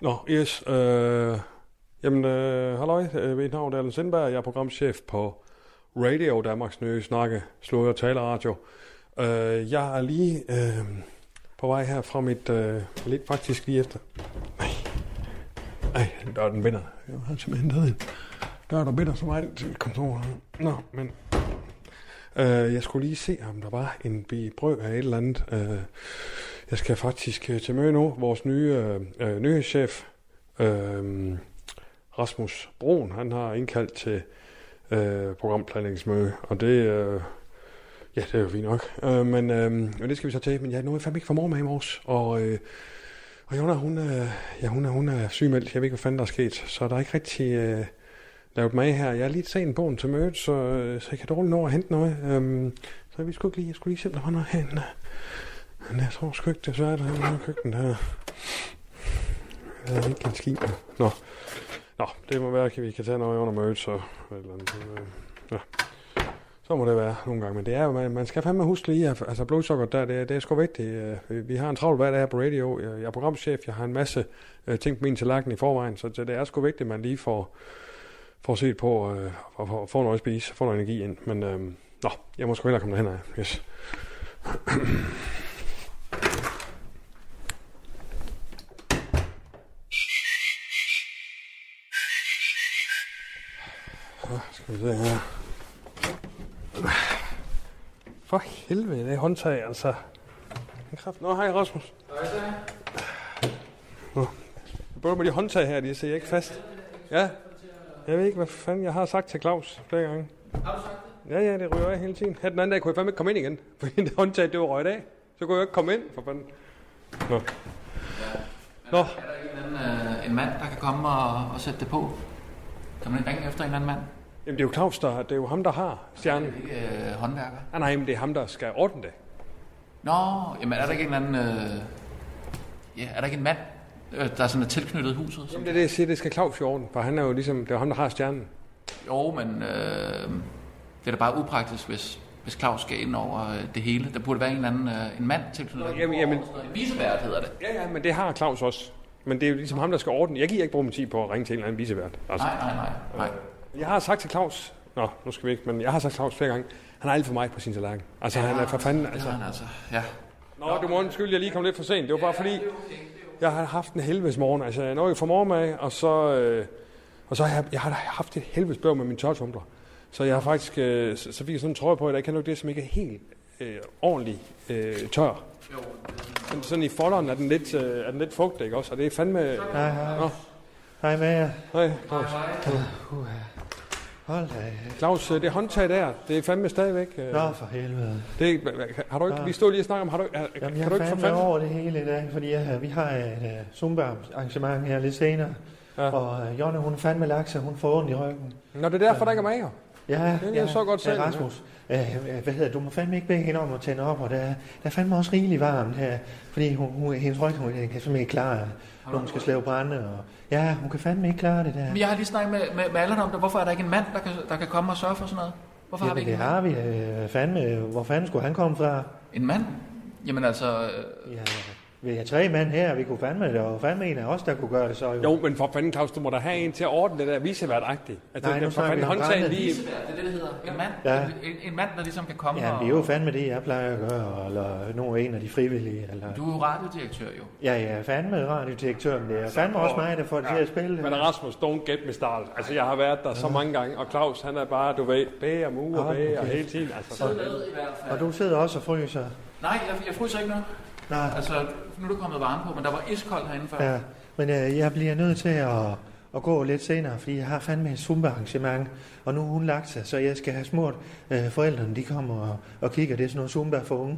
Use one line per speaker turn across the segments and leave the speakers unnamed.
Nå, yes. Øh, jamen, øh, halløj. Øh, Mit navn er Allen Sindberg. Jeg er programchef på Radio Danmarks Nye Snakke, Slå og Taleradio. Øh, jeg er lige øh, på vej her fra mit... Øh, lidt faktisk lige efter. Nej. Ej, der er den binder. Jeg har simpelthen hentet en. Der er der binder som mig til kontoret. Nå, men... Øh, jeg skulle lige se, om der var en bi brød af et eller andet... Øh, jeg skal faktisk øh, til møde nu. Vores nye øh, øh, nyhedschef, øh, Rasmus Broen, han har indkaldt til øh, programplanlægningsmøde, og det, øh, ja, det er jo fint nok. Øh, men øh, men det skal vi så til. Men jeg nåede fandme ikke for mor med i morges, og, øh, og Jonna, hun, øh, ja, hun, er, hun er sygemeldt. Jeg ved ikke, hvad fanden der er sket, så der er ikke rigtig øh, lavet mig her. Jeg er lidt sent bogen til mødet, så, øh, så jeg kan dårligt nå at hente noget. Øh, så vi skulle ikke lige, jeg skulle lige se, om der var noget herinde. Men jeg tror sgu ikke, det er svært at have køkkenet her. Jeg er ikke en skin. Nå. Nå, det må være, at vi kan tage noget under mødet, så eller et eller andet. Men, øh, Ja. Så må det være nogle gange, men det er jo, man, man skal fandme huske lige, at altså blodsukker der, det, er- det er sgu vigtigt. Øh, Vi har en travl hverdag her på radio, jeg jeg er programchef, jeg har en masse øh, ting på min tallerken i forvejen, så så det er sgu vigtigt, at man lige får, får set på, øh, og får, får noget at spise, får noget energi ind, men øh, nå, jeg må sgu hellere komme derhen af, yes. Skal vi se her. For helvede, det er håndtag, altså. En kraft. Nå, hej Rasmus. Hej, Nå. Jeg prøver med de håndtag her, de sidder ikke fast. Ja. Jeg ved ikke, hvad fanden jeg har sagt til Claus flere gange. Ja, ja, det ryger af hele tiden. Her den anden dag kunne jeg fandme ikke komme ind igen, fordi det håndtag, det var røget af. Så kunne jeg ikke komme ind, for fanden. Nå. Nå,
Er der ikke en, anden, øh, en mand, der kan komme og, og sætte det på? Kan man ikke ringe efter en eller anden mand?
Jamen, det er jo Claus, der, det er jo ham, der har stjernen.
Ikke øh, håndværker?
Ah, nej, men det er ham, der skal ordne det.
Nå, jamen er der ikke en eller anden... Øh, ja, er der ikke en mand, øh, der sådan er tilknyttet huset? Som,
Jamen, det er det, jeg siger, det skal Claus i orden, for han er jo ligesom, det er jo ham, der har stjernen.
jo, men øh, det er da bare upraktisk, hvis, hvis Claus skal ind over øh, det hele. Der burde være en eller anden øh, en mand tilknyttet.
jamen, jamen.
En visevært hedder det.
Ja, ja, men det har Claus også. Men det er jo ligesom ham, der skal ordne. Jeg giver ikke bruge min tid på at ringe til en eller anden visevært. Altså,
Nej, nej, nej. nej.
jeg har sagt til Claus, nå, nu skal vi ikke, men jeg har sagt til Claus flere gange, han har alt for mig på sin tallerken. Altså, han er for fanden,
Det
altså.
har han altså, ja.
Nå, du må undskylde, jeg lige kom lidt for sent. Det var bare fordi, jeg har haft en helvedes morgen. Altså, jeg nåede jo fra morgen af, og så, øh, og så har jeg, jeg har da haft et helvedes bøv med mine tørretumbler. Så jeg har faktisk, øh, så, så fik jeg sådan en trøje på, at jeg kan nok det, som ikke er helt øh, ordentligt øh, tør. Sådan, sådan i folderen er den lidt, øh, er den lidt fugt, ikke også? Og det er fandme...
Hej, hej.
Nå.
Hej med jer.
Nej, Claus.
Hold da. af.
Claus, øh, det håndtag der, det er fandme stadigvæk... Øh,
Nå, for helvede.
det er, ikke- har du ikke...
Nå.
Vi stod lige og snakkede om... Har du, har,
Jamen,
kan
jeg
du
er
ikke for
fandme
fanden...
over det hele i dag, fordi jeg, vi har et uh, Zumba-arrangement her lidt senere.
Ja.
Ja. Og uh, Jonne, hun er fandme lakse, hun får ondt i ryggen.
Nå, det er derfor, der ikke er mig her.
Ja,
kan
ja,
jeg så godt
ja,
se.
Rasmus, uh, hvad hedder du må fandme ikke bede hende om at tænde op, og der, er- der er fandme også rigeligt varmt her, fordi hun, hun, hendes ryg, hun kan simpelthen ikke klare, når hun skal slæve brænde. Og, ja, hun kan fandme ikke klare det der.
Men jeg har lige snakket med, med, med Allan om det. Hvorfor er der ikke en mand, der kan, der kan komme og sørge for sådan noget? Hvorfor har vi
Jamen,
ikke en
det
mand?
har vi. Uh, fandme, hvor fanden skulle han komme fra?
En mand? Jamen altså, øh,
Ja, vi har tre mænd her, og vi kunne fandme det, og fandme en af os, der kunne gøre det så. Jo,
Jo, men for fanden, Claus, du må da have en til at ordne det der viseværtagtigt. Altså,
Nej,
Nej,
nu
det, for fanden
snakker vi om
håndtagen
brændet.
lige...
vicevært, det er det, det hedder. En mand,
Ja.
en, en mand, der ligesom kan komme
ja,
og...
det er jo fandme det, jeg plejer at gøre, eller nu er en af de frivillige. Eller...
Du er jo radiodirektør jo.
Ja, ja, fandme radiodirektør, men det er fandme også mig, der får det til at spille.
Men Rasmus, don't get me started. Altså, jeg har været der så mange gange, og Claus, han er bare, du ved, bag om uge og
Ah,
bag og
okay.
hele tiden. Altså,
Så
så...
i hvert fald.
Og du sidder også og fryser.
Nej, jeg, jeg fryser ikke noget.
Nej,
Altså, nu er du kommet varme på, men der var iskoldt herinde før.
ja. Men øh, jeg bliver nødt til at, at gå lidt senere, fordi jeg har fandme et Zumba-arrangement, og nu er hun lagt sig, så jeg skal have smurt øh, forældrene, de kommer og, og kigger. Det er sådan noget Zumba for unge.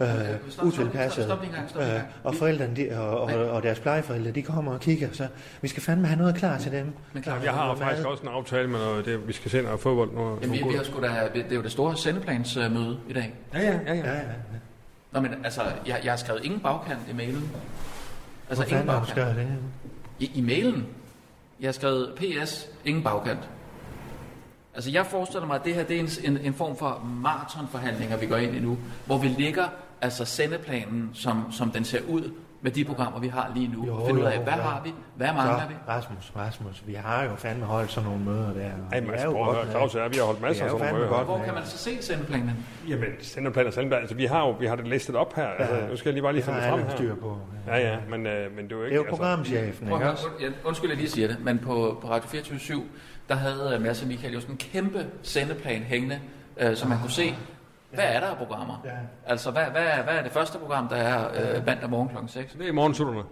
øh,
stop, stop,
utilpasset.
stop, stop lige en gang, stop lige en gang.
og
Vi-
forældrene de, og,
Nej.
og, og, deres plejeforældre, de kommer og kigger, så vi skal fandme have noget klar til dem.
Men klar,
Jeg har
Noget mad.
faktisk også en aftale med noget, det, vi skal se noget fodbold. Noget,
Jamen, vi, vi har sgu da, det er jo det store sendeplansmøde i dag.
Ja, ja, ja.
Ja,
ja.
ja.
Nå, men altså, jeg, jeg har skrevet ingen bagkant i mailen.
Altså,
Altså,
Hvor
ingen
fanden har du
bagkant.
skrevet det?
I, I mailen. Jeg har skrevet PS, ingen bagkant. Altså, jeg forestiller mig, at det her det er en, en, en form for maratonforhandlinger, vi går ind i nu, hvor vi ligger altså sendeplanen, som, som den ser ud med de programmer, vi har lige nu.
Jo,
og finder ud af,
jo,
hvad
jo.
har vi? Hvad
Så,
mangler vi?
Rasmus, Rasmus, vi har jo fandme holdt sådan nogle møder der. og
Ej,
vi
men
er
altså,
jo
prøv at
godt
høre,
med.
Claus, og jeg, vi har holdt masser
Det
af
er jo
sådan
fandme
nogle
godt.
møder.
Hvor kan man så se sendeplanen?
Jamen, Senderplan og Sandberg, altså vi har jo vi har det listet op her. Altså, nu skal jeg lige bare lige
Det
finde
har
det frem
alle
her.
styr på.
Ja, ja, men, øh, men det er jo
Det
ikke...
er jo programchefen,
Prøv
ikke
at høre,
også?
und- ja, undskyld, jeg lige siger det, men på, på Radio 24 der havde øh, Mads og Michael jo sådan en kæmpe sendeplan hængende, øh, som man kunne
Ah.
se, hvad er der af programmer?
Ja.
Altså, hvad, hvad, er, hvad er det første program, der er øh, mandag morgen kl. 6?
altså, det er i morgensutterne.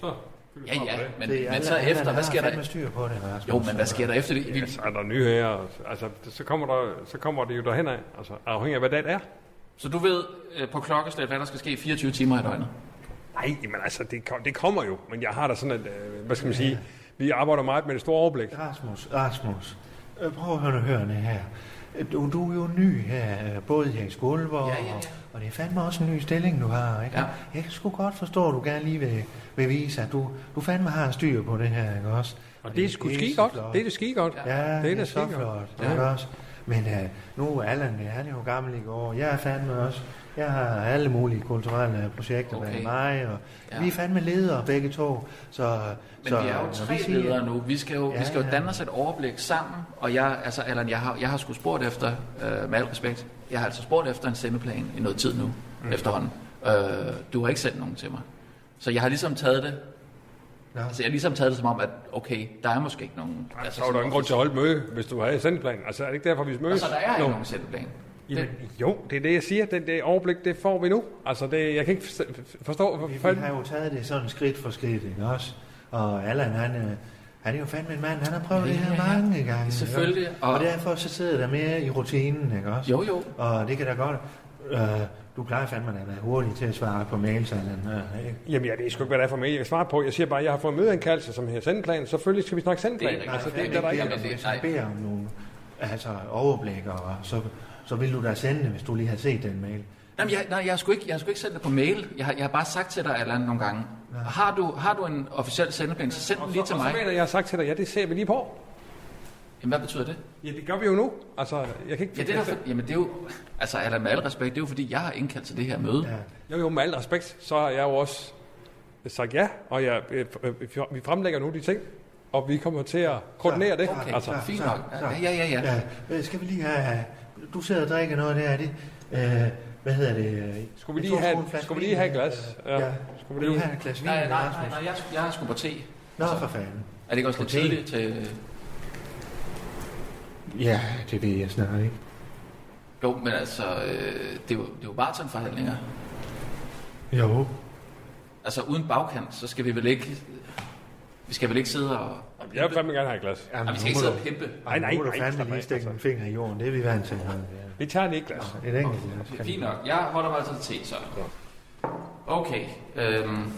Så. fylder
Ja,
frem med
ja,
det.
men,
Det er
men
alle-
så
alle,
efter, hvad sker
har fandme
der?
styr på det, Rasmus.
Jo, men hvad sker der efter det?
Ja,
Vi-
så er der nye her. og- Altså, det- så kommer der, så kommer det jo derhen af. Altså, afhængig af, hvad det er.
Så du ved øh, på klokkeslæt, hvad der skal ske 24 timer i døgnet?
Nej, men altså, det, kom- det kommer jo. Men jeg har da sådan, at, øh, hvad skal man sige, vi arbejder meget med det store overblik.
Rasmus, Rasmus, øh, prøv at høre, høre det her. Øh, Du, du er jo ny her, øh, både her i Skålborg,
Ja, ja, ja.
og- og det er fandme også en ny stilling, du har, ikke?
Ja.
Jeg kan sgu godt forstå, at du gerne lige vil, vil vise, at du, du fandme har styr på det her, ikke også?
Og det er sgu skide godt. Det er det skide godt.
Ja.
Ja,
det
det
er
er
da
det så
sikkert.
flot,
Ja.
ja. ikke også? Men øh, nu er Allan, øh, han er jo gammel i går, jeg er fandme også, jeg har alle mulige kulturelle projekter okay.
Okay.
bag mig, og
Ja.
ja. vi er fandme ledere begge to, så...
Men
så,
vi er
når
jo tre
siger-
ledere nu. Vi skal jo, ja,
Ja,
vi skal jo
ja.
danne os et overblik sammen. Og jeg, altså, Allan, jeg har, jeg har sgu spurgt efter, øh, med al respekt, jeg har altså spurgt efter en sendeplan i noget tid nu, mm. efterhånden. Øh, du har ikke sendt nogen til mig. Så jeg har ligesom taget det,
Nå.
altså jeg har ligesom taget det som om, at okay, der er måske ikke nogen.
Ej,
altså,
så er der jo
sådan-
ingen grund til at holde møde, hvis du har sendeplanen. Altså, er det ikke derfor, vi mødes?
Altså, der er
Nå.
ikke nogen sendeplan.
Jamen, jo, det er det, jeg siger. Det, det overblik, det får vi nu. Altså, det, jeg kan ikke forstå, forstå hvor
Vi, vi
fanden-
har jo taget det sådan skridt for skridt, ikke også? Og Allan, han, øh, han er jo fandme en mand, han har prøvet
Ja,
det her
ja, ja.
mange gange. ikke også?
Selvfølgelig, og-
Og, og derfor så sidder der mere i rutinen, ikke også?
Jo, jo.
Og det kan da godt... Øh, du plejer fandme at være hurtig til at svare på mails, Allan. Øh, ikke?
Jamen, jeg ved sgu ikke, hvad det er for mig. Jeg kan svare på. Jeg siger bare, at jeg har fået en mødeindkaldelse, som her sendeplan. Selvfølgelig skal vi snakke sendeplan.
Det er
altså,
rigtigt.
det, er der ikke.
det-
Hvis
nej.
jeg beder om nogle altså, overblik, og så, så vil du da sende det, hvis du lige har set den mail.
Jamen, jeg, nej, jeg har sgu ikke, jeg har sgu ikke sendt det på mail. Jeg har, jeg har bare sagt til dig, Allan, nogle gange.
Ja.
Har du, har du en officiel sendeplan, så send den lige
Og så
til mig.
mener jeg, jeg har sagt til dig, ja, det ser vi lige på.
Jamen, hvad betyder det?
Ja, det gør vi jo nu. Altså, jeg kan ikke...
Ja, det er der, for, jamen det er jo, altså Allan, med al respekt, det er jo fordi, jeg har indkaldt til det her møde.
Ja.
Jo, jo, med al respekt, så har jeg jo også sagt ja, og jeg, øh, øh, vi fremlægger nu de ting, og vi kommer til at koordinere det.
Okay,
altså,
så, fint
så-
nok.
så-
Ja, ja, ja, ja.
Ja, øh, skal vi lige have... Du sidder og drikker noget der, er det... Øh, hvad hedder det?
skulle vi
Jeg
lige
tror,
have,
en flaske
skulle vi
vin,
lige have et
øh,
glas?
Ja.
Skulle vi
Vil du
lige...
have et glas vin?
Nej, nej, nej,
Rasmus?
nej jeg, jeg har sgu på te.
Nå,
Altså,
for fanden.
er det ikke også lidt
På te?
tidligt til...
Ja, det ved jeg snart ikke.
Jo, men altså, øh, det er jo, det er jo maratonforhandlinger.
Jo.
Altså uden bagkant, så skal vi vel ikke... Vi skal vel ikke sidde og... og
Jeg vil fandme gerne have et glas.
Jamen, vi skal ikke sidde og pimpe.
Nej, nej,
nu må
nej,
du
slap
fandme
af,
lige stikke en
altså.
finger i jorden. Det er vi vant til. Ja.
Vi tager det ikke glas.
Et enkelt glas. kan
Fint
vi-
nok. Jeg holder mig altså til te, så. Okay. Øhm.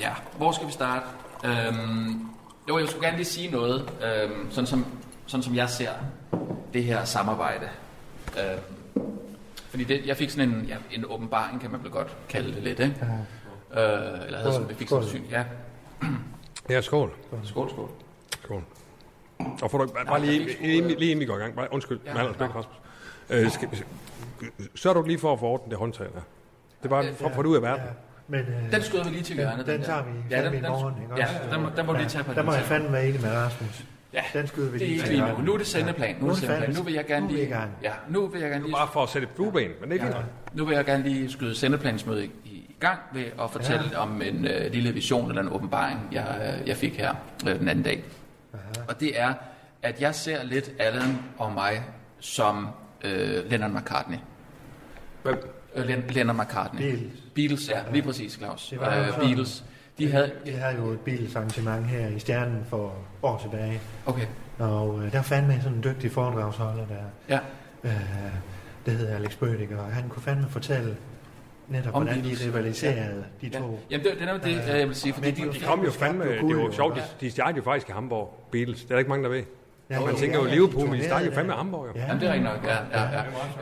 Ja, hvor skal vi starte? Øhm. Jo, jeg skulle gerne lige sige noget, øhm, sådan, som, sådan som jeg ser det her samarbejde. Øhm. Fordi det, jeg fik sådan en, ja, en åbenbaring, kan man vel godt kalde det lidt, ikke? Øh, eller havde sådan, jeg fik sådan en syn. Ja,
Ja, skål.
skål, skål.
Skål. Og får du ikke- bare, bare
Nej,
lige,
jeg kan ikke
lige, inden- lige inden vi går i gang. Bare, undskyld,
Ja,
ja, med al
nå.
respekt, Rasmus. Øh, skal, sørg du lige for at få ordnet det håndtag der. Det er bare for at få det ud af verden.
Ja. Men, øh,
Den skyder vi lige til hjørnet.
den, den
der.
tager vi
ja,
fandme i morgen, ikke
Ja,
også?
den, må- den må du lige tage på
Der må
den
jeg fandme være enig med Rasmus.
Ja,
Den skyder vi
Det er
lige
ikke
til.
lige nu. Nu er det sendeplan. Nu, er det sendeplan.
fandme-
nu vil jeg gerne
nu er
lige...
vi i gang.
Ja, nu vil jeg gerne
Det er
lige...
bare for at sætte et flueben, men det er fint.
Ja, nu vil jeg gerne lige skyde sendeplansmødet i, i gang ved at fortælle ja. om en øh, lille vision eller en åbenbaring, jeg, øh, jeg fik her øh, den anden dag. Aha. Og det er, at jeg ser lidt Allen og mig som øh, Lennon McCartney.
Hvem?
Øh, Len, Lennon McCartney.
Beatles.
Beatles, ja, lige præcis, Claus.
Det var jo
øh,
sådan.
Beatles. De havde...
Vi havde jo et bilsarrangement her i Stjernen for år tilbage,
Okay,
og øh, der fandt man sådan en dygtig foredragsholder, der
ja.
øh, der hedder Alex Bødiger, og han kunne fandme fortælle netop,
Om
hvordan de
Beatles.
rivaliserede, de
Ja.
to.
Jamen, det, det er jo det, øh,
Ja.
jeg vil sige. Fordi
Men
de,
De kom jo fandme,
Det var
det
guld,
var jo
jo.
sjovt, de, de stjal jo faktisk i Hamburg, Beatles. Det er der ikke mange, der ved.
Ja,
Man
ja,
tænker jo
ja,
Liverpool,
de
men de
turnerede
stjal jo
der.
fandme i Hamburg jo.
Ja,
Jamen, det er rigtigt nok, ja.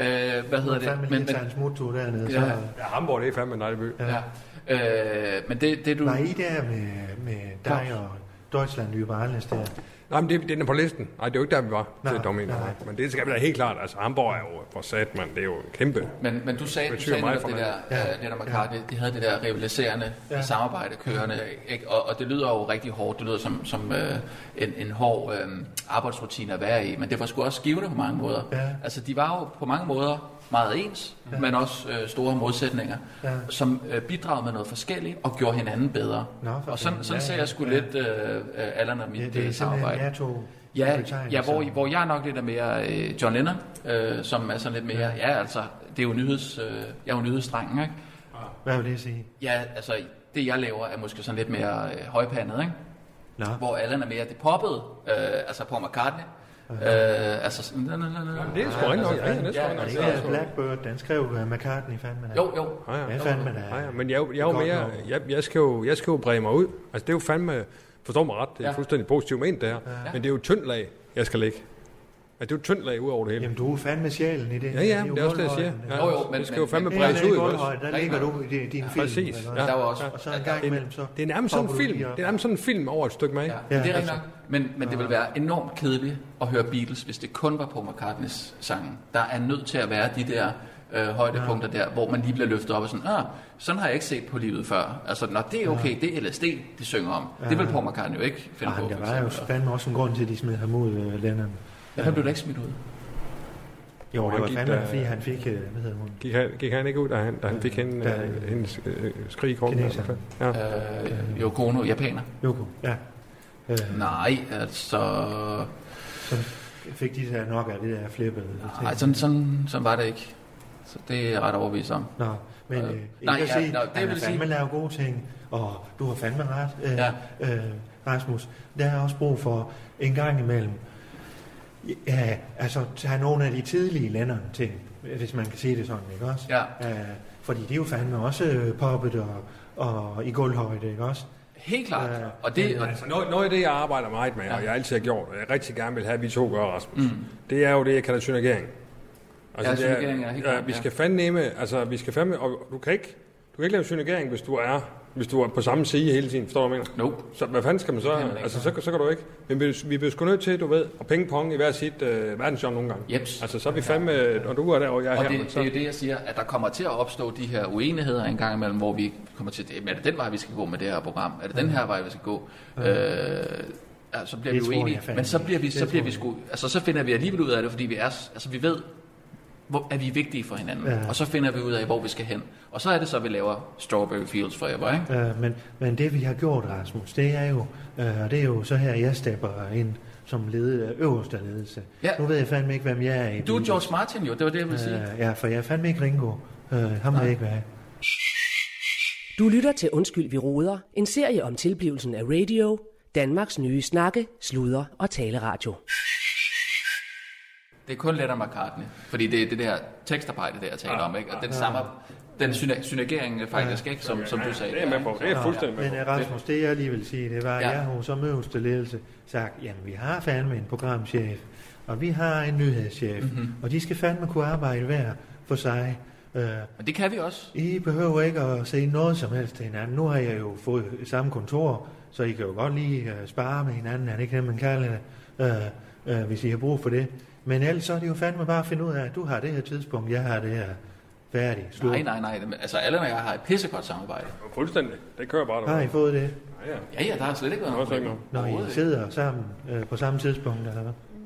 ja, ja. Øh, hvad hedder det?
Men,
Men, men,
men, en smuttur dernede,
Ja.
så...
Ja, Hamburg, det er fandme en dejlig by.
ja. Øh, men det, det du...
Var I der med, med dig og Deutschland Nye Barles der?
Nej, men det, det er den på listen. Nej, det er jo ikke der, vi var. Nej, det er
Nej,
dominer.
nej.
Men det skal vi da helt klart. Altså, Hamburg er jo for sat, man. Det er jo en kæmpe.
Men, men du sagde, du
Betyder
sagde
meget
netop
for
det
mig.
der,
Ja.
ja. øh, netop McCarthy, ja. de havde det der rivaliserende
Ja.
ja. samarbejde kørende, ikke? Og, og det lyder jo rigtig hårdt, det lyder som, som øh, en, en hård øh, arbejdsrutine at være i, men det var sgu også givende på mange måder.
Ja.
Altså de var jo på mange måder meget ens, ja. men også øh, store modsætninger,
Ja.
ja. som øh, bidragede med noget forskelligt og gjorde hinanden bedre.
Nå, for
og sådan,
fanden.
sådan
Ja,
ser
ja,
jeg sgu
ja.
lidt øh, øh, alderen af mit
Ja, det er
øh, samarbejde.
simpelthen NATO.
Ja,
betegnelse.
ja hvor, hvor jeg nok lidt er mere øh, John Lennon, øh, som er sådan lidt mere, ja altså, det er jo nyheds, øh, jeg er jo nyhedsdrengen, ikke?
Hvad vil det sige?
Ja, altså, det jeg laver er måske sådan lidt mere øh, højpandet, ikke?
Nå.
Hvor Allan er mere det poppede, øh, altså Paul McCartney. Øh, altså sådan, na, na, na, na.
Jamen, det er sgu rigtig nok. Ja, det er sgu rigtig
Ja,
Er
nok.
det ikke
altså,
øh, Blackbird, den skrev uh, McCartney fandme da?
Jo, jo.
Ja, ja.
Ja, fandme da.
Ja, ja, men jeg, er jo- jeg er jo
Det er
mere,
godt nok.
jeg, jeg, skal jo, jeg skal jo brede mig ud. Altså, det er jo fandme, forstår mig ret, det er
Ja.
fuldstændig positivt ment det her.
Ja.
Men det er jo et tyndt lag, jeg skal lægge. Altså, det er jo et tyndt lag ud over det hele.
Jamen, du er fandme sjælen i det.
Ja, ja, det er også det, jeg siger. Ja,
Jo, jo, men-
det skal jo
men-
fandme
men-
bredes ud,
ud,
ikke også?
Der ligger du i din din film.
Præcis,
eller
ja.
hvad?
Der var også...
Og så en gang
Det er,
imellem, så...
det er nærmest sådan en
popper du
film.
lige op.
Det er nærmest sådan en film over et stykke mad.
Ja,
Ja.
det er rigtigt
altså.
nok. Men, men det vil være enormt kedeligt at høre Beatles, hvis det kun var på McCartneys sangen. Der er nødt til at være de der øh, højdepunkter der, hvor man lige bliver løftet op og sådan, ah, sådan har jeg ikke set på livet før. Altså, når det er okay, det er LSD, de synger om. Det vil Paul McCartney jo ikke finde
Ej,
på.
men der
for
Ah, var jo
eksempel.
fandme også en grund til, at de smed ham ud, øh, Lennon.
Ja, han blev da ikke smidt ud.
Jo, det
Han
var
gik
fandme,
der-
fordi han fik, øh, hvad hedder hun?
Gik, han, gik han ikke ud, da han, da han fik hende,
Ja.
øh, hendes øh, skrig i korten?
Kineser.
Ja.
Øh, jo, Kono, japaner.
Yoko, ja. Øh,
Nej, altså...
så fik de der nok af det der flippede.
Nej, sådan, sådan, sådan var det ikke. Så det er jeg ret overbevist om.
Nå, men
Øh,
øh,
nej,
nej, ja,
ja,
sige,
nå,
nej,
det
det han
vil
har
sige-
fandme lavet gode ting, og du har fandme ret, øh, ja.
Ja.
øh, Rasmus. Der er også brug for en gang imellem, ja, altså tage nogle af de tidlige Lennon ting, hvis man kan sige det sådan, ikke også?
Ja.
Øh, fordi det er jo fandme også øh, poppet og, og i gulvhøjde, ikke også?
Helt klart.
Ja, øh,
Og det, og,
Altså, noget, noget af det, jeg arbejder meget med, og
Ja.
jeg altid har gjort, og jeg rigtig gerne vil have, at vi to gør, Rasmus, mm. det er jo det, jeg kalder synergering. Altså,
Ja,
det er-
synergering er helt
ja,
klart,
vi
ja.
skal fandme, altså, vi skal fandme, og du kan ikke, du kan ikke lave synergering, hvis du er, hvis du er på samme side hele tiden, forstår du, hvad jeg mener?
Nope.
Så hvad fanden skal man så,
kan man ikke.
altså, så, så kan du ikke. Men vi, vi bliver sgu nødt til, du ved, at pingpong i hver sit øh, verdensjom nogle gange.
Jeps.
Altså, så er vi fandme, når du er der, og jeg er
Og
her,
det,
men
det
så,
er jo det, jeg siger, at der kommer til at opstå de her uenigheder en gang imellem, hvor vi kommer til, "Jamen, er det den vej, vi skal gå med det her program? Er det den her vej, vi skal gå? Øh, ja, så bliver
Det
vi
tror
uenige,
jeg fandme
men så bliver vi,
ikke.
så
Det
bliver
tror
vi
jeg
sgu, altså så finder vi alligevel ud af det, fordi vi er, s- altså vi ved, hvor er vi vigtige for hinanden,
Ja.
ja. og så finder vi ud af, hvor vi skal hen. Og så er det så, vi laver Strawberry Fields Forever, ikke?
Øh, men, men det vi har gjort, Rasmus, det er jo, øh, og det er jo så her, jeg stepper ind som lede, øverste ledelse.
Ja.
Nu ved jeg fandme ikke, hvem jeg er i.
Du er
Beatles.
George Martin jo, det var det, jeg ville sige.
Øh, ja, for jeg er fandme ikke Ringo. Øh, ham vil jeg ikke være.
Du lytter til Undskyld, vi roder, en serie om tilblivelsen af radio, Danmarks nye snakke, sludre og taleradio.
Det er kun Lennon McCartney, fordi det er det der tekstarbejde, der jeg taler
Ah.
om, ikke? Og den samme, den syner- synergering øh, faktisk, ikke? Som, som du sagde.
det er jeg med på. Det er jeg fuldstændig med
Men
på.
øh, Rasmus, det jeg lige vil sige, det var, at
Ja.
jeg har jo som øverste ledelse sagt, jamen vi har fandme en programchef, og vi har en nyhedschef,
Mhm.
mm-hmm. og de skal fandme kunne arbejde hver for sig. Øh,
Men det kan vi også.
I behøver ikke at se noget som helst til hinanden. Nu har jeg jo fået samme kontor, så I kan jo godt lige øh, spare med hinanden, er det ikke det, man kalder det, øh, øh, hvis I har brug for det. Men ellers så er det jo fandme bare at finde ud af, at du har det her tidspunkt, jeg har det her færdigt. Slut.
Nej, nej, nej. Men, Altså, alle og jeg har et pissegodt samarbejde.
fuldstændig. Det kører bare, du.
Har I fået det?
Ja, ja.
Ja, ja, der har slet ikke været
Nå,
noget
så ikke
problem.
Når I
Overhovedet
sidder sammen øh, på samme tidspunkt, eller hvad?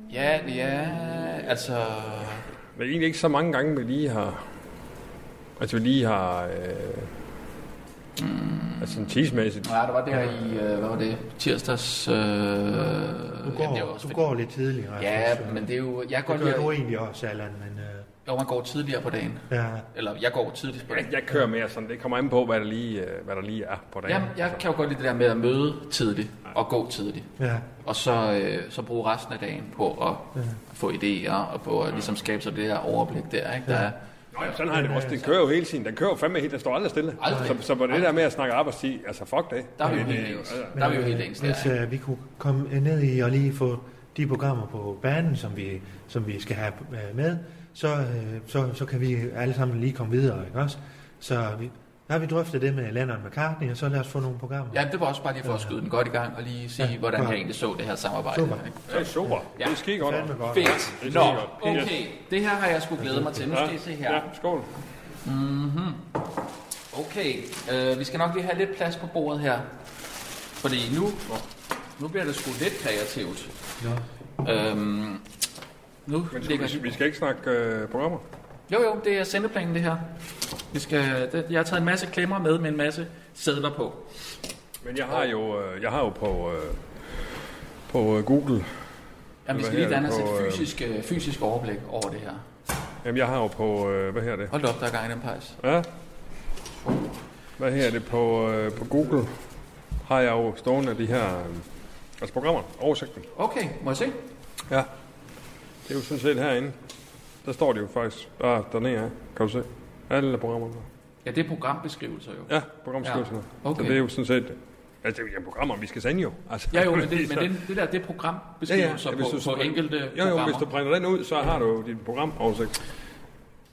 ikke. Ja, ja, altså...
Men egentlig ikke så mange gange, vi lige har... Altså, vi lige har... Øh, mm. Altså, sådan tidsmæssigt.
Nej, der var der i, øh, hvad var det, tirsdags... Øh,
Du
jamen, det er
går,
også
du
fedt.
går lidt tidligere.
Ja, men det er jo... Jeg går,
Det gør du
lige,
egentlig også, Allan, men øh,
jo, man går tidligere på dagen.
ja,
Eller jeg går tidligt på dagen.
Jeg, jeg kører mere sådan. Det kommer an på, hvad der lige, øh, hvad der lige er på dagen.
Jeg, jeg kan jo godt lide det der med at møde tidligt. og gå tidligt.
Ja,
Og så, øh, så bruge resten af dagen på at
ja.
få idéer og på at ligesom skabe sig det her overblik der. Ikke? Der er,
Nå, jamen, Altså, sådan har jeg det også. Den kører jo hele tiden. Den kører jo fandme helt. Den står aldrig stille.
Aldrig.
Så, så på det der med at snakke arbejdstid, altså fuck det.
der er vi jo
Men,
helt
øh,
ens. Der er vi jo helt ens der.
Hvis
ikke?
øh, vi kunne komme øh, ned i og lige få de programmer på banen, som vi, som vi skal have øh, med, så, øh, så, så kan vi alle sammen lige komme videre, ikke også? Så vi, der har vi drøftet det med Lennon McCartney, og så lad os få nogle programmer.
Ja, det var også bare lige for at skyde den godt i gang og lige sige,
Ja,
hvordan jeg
klar.
egentlig så det her samarbejde.
Super.
ikke?
Det er super. Det er skide godt.
Fandme godt.
Fedt.
Det
Nå,
er sikkert.
okay. Det her har jeg sgu glædet mig til. Nu skal I se
Ja,
her.
skål.
Okay, øh, vi skal nok lige have lidt plads på bordet her. Fordi nu, nu bliver det sgu lidt kreativt.
Nå.
Øhm, nu
Men
ligger...
skal vi, vi skal ikke snakke øh, programmer.
Jo, jo, det er sendeplanen, det her. Vi skal, det, jeg har taget en masse klemmer med med en masse sædler på.
Men jeg har jo, øh, jeg har jo på, øh, på øh, Google,
Jamen,
Hvad
vi skal lige
her er
danne os
det på,
et
øh,
fysisk, øh, fysisk overblik over det her.
jamen jeg har jo på, øh, hvad her det?
Hold da op, der er gang i den pejs.
Ja. Hvad her det på, øh, på Google? Har jeg jo stående de her øh, altså programmer, oversigten.
Okay, må jeg se?
Ja. Det er jo sådan set herinde. Der står det jo faktisk. Ah, dernede er. Kan du se? Alle programmerne.
Ja, det er programbeskrivelser jo.
Ja, programskrivelserne.
Ja, okay.
Så det er jo sådan set... Altså, det er jo programmer, vi skal sende jo. Altså,
Ja, jo, men det,
så-
men det, det der, det er programbeskrivelser ja, ja. på, på
print-
enkelte
jo, jo, hvis
programmer.
du printer den ud, så har du jo dit programoversigt.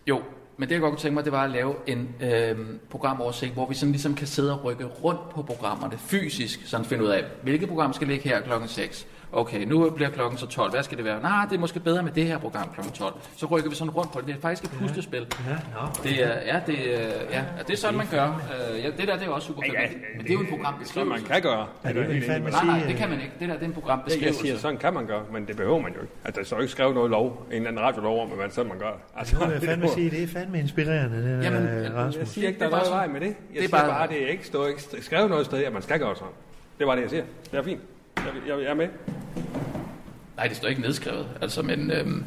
Jo, men det jeg godt kunne tænke mig, det var at lave en øh, programoversigt, hvor vi sådan ligesom kan sidde og rykke rundt på programmerne fysisk, sådan finde ud af, hvilket program skal ligge her klokken 6. Okay, nu bliver klokken så 12. Hvad skal det være? Nej, det er måske bedre med det her program klokken 12. Så rykker vi sådan rundt på det. Det er faktisk et puslespil.
Ja, nå.
Det er, ja, det, er- ja, ja, det er sådan, man gør. Øh, ja, det der, det er også super fedt. men det- Men det er jo en
Så man
programbeskrivelse.
kan gøre.
Ja, det
er
vil
helt
jeg
enig
fandme
med
Nej,
dig.
sige.
nej, det kan man ikke. Det der, det er en
jeg siger,
programbeskrivelse.
sådan kan man gøre, men det behøver man jo ikke. Altså, der står jo ikke skrevet noget lov, en eller anden radiolov om, at man sådan man gør. det. Altså,
Nu vil jeg fandme sige, det er fandme inspirerende, det der,
Jamen,
øh,
jeg-
Jeg
Rasmus.
siger ikke, der er
Det er
noget vej
bare
med det. Jeg
det er
siger
bare-
bare, det er ikke, står ikke skrevet noget sted, at man skal gøre sådan. Det var det, jeg siger. Det er fint. Jeg, jeg, jeg er med.
Nej, det står ikke nedskrevet. Altså, men øhm,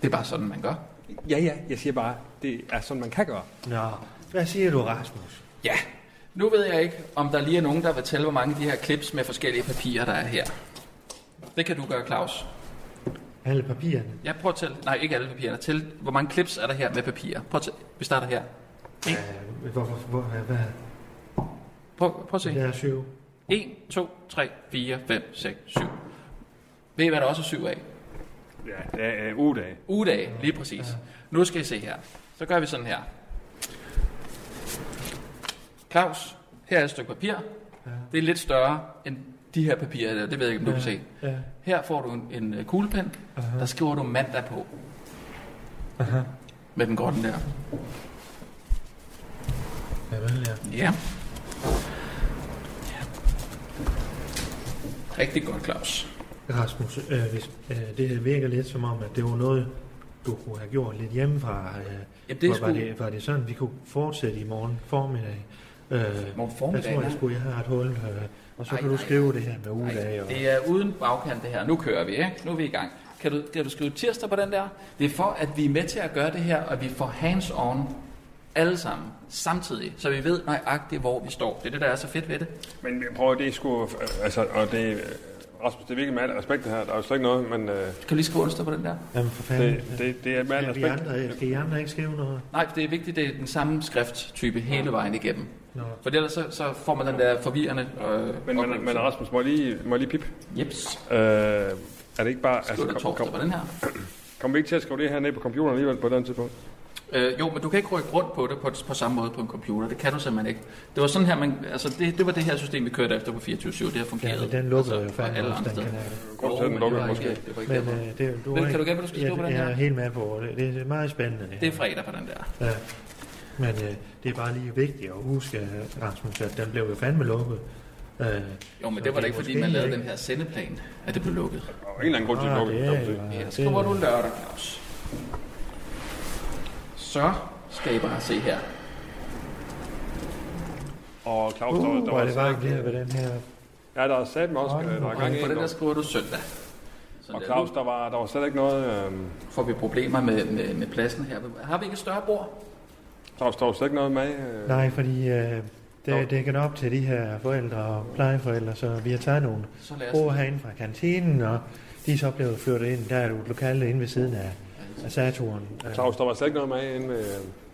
det er bare sådan, man gør.
Ja, ja, jeg siger bare, det er sådan, man kan gøre.
Nå, hvad siger du, Rasmus?
Ja, nu ved jeg ikke, om der lige er nogen, der vil tælle, hvor mange af de her clips med forskellige papirer, der er her. Det kan du gøre, Claus.
Alle papirerne.
Jeg prøver at tælle. Nej, ikke alle papirerne. Tæl, hvor mange clips er der her med papirer? Prøv at tælle. Vi starter her.
Øh, Hvorfor? Hvor, hvad? hvad?
Prøv, prøv at se.
Der er syv.
1, 2, 3, 4, 5, 6, 7. Ved I, hvad der også er syv af?
Ja, det er øh, ugedage.
Ugedage, lige præcis. Nu skal I se her. Så gør vi sådan her. Claus, her er et stykke papir. Det er lidt større end de her papirer der. Det ved jeg ikke, om du kan se.
Ja.
Her får du en, en øh, kuglepen, der skriver du mandag på. Med den grønne der.
Ja, vel, ja.
Ja. ja. Rigtig godt, Claus.
Rasmus, øh, hvis, øh, det her virker lidt som om, at det var noget, du kunne have gjort lidt hjemmefra. Øh,
Jamen, det er
var, var,
sgu-
det, var det sådan, vi kunne fortsætte i morgen formiddag? Øh,
Morgen
jeg
formiddag,
tror, jeg
ja.
skulle, jeg har et hul, øh, og så
Ej,
ej, kan du
nej.
skrive det her med ugedage. Og,
Det er uden bagkant det her. Nu kører vi, ikke? Nu er vi i gang. Kan du, kan du skrive tirsdag på den der? Det er for, at vi er med til at gøre det her, og vi får hands-on alle sammen samtidig, så vi ved nøjagtigt, hvor vi står. Det er det, der er så fedt ved det.
Men prøv at det er sgu... øh, Altså, og det... øh, Rasmus, det er virkelig med al respekt det her. Der er jo slet ikke noget, men... Øh,
Kan du lige skrive onsdag på den der?
jamen, for fanden.
det, det, det er med al
ja, vi
respekt.
andre, skal I andre ikke skrive noget?
Nej, for det er vigtigt, det er den samme skrifttype hele vejen igennem.
Nå.
For ellers så, så får man den der forvirrende... Øh,
Men, men, men Rasmus, må jeg lige, må jeg lige pip?
Jeps.
Øh, er det ikke bare...
Skriv der
Altså, kom,
torsdag
kom,
på den her.
kom vi ikke til at skrive det her ned på computeren alligevel på et eller andet tidspunkt?
Øh, jo, men du kan ikke rykke rundt på det på, på samme måde på en computer. Det kan du simpelthen ikke. Det var sådan her, man, altså det, det var det her system, vi kørte efter på 24-7. Det har
Ja,
fungeret.
men den lukkede jo
altså, og
fandme
alle
også,
andre
den
steder.
kanal.
Grunden til, at den
Jo, men det
lukkede
var
måske.
ikke- Det var ikke
Men
derfor.
øh, det, du
Vel, kan
har ikke-
du gætte, hvad du skal
jeg,
skrive på den
jeg
her?
er helt med på det. Det er meget spændende.
Det er fredag på den der.
Ja. Men øh, det er bare lige vigtigt at huske, øh, Rasmus, at den blev jo fandme lukket.
Jo,
Øh,
men
Så
det var
det
da
er
ikke, fordi
måske
man lavede
ikke-
den her sendeplan, at det blev lukket.
Der er jo en eller anden grund til, at
ah,
lukke
det er jo,
det.
Ja,
det-
så skriver du lørdag, Claus. Så skal I bare se her.
Og Claus,
Uh,
der, der,
hvor er det
var,
varmt her ved den her.
ja, der er sat med også, øh, der er gang i
Og på
en,
den der
der-
skriver du søndag. Så
Og
der-
Claus, der var, der var slet ikke noget... Øh,
nu får vi problemer med, med, med pladsen her. Har vi ikke et større bord?
Claus, der var slet ikke noget med... Øh,
Nej, fordi øh,
Nå.
Det, det kan op til de her forældre og plejeforældre, så vi har taget nogle
Så lad os...
bruger herinde fra kantinen, og de er så blevet flyttet ind. Der er jo et lokale inde ved siden af, af Saturn. Øh,
Claus, der var slet ikke noget med inde ved...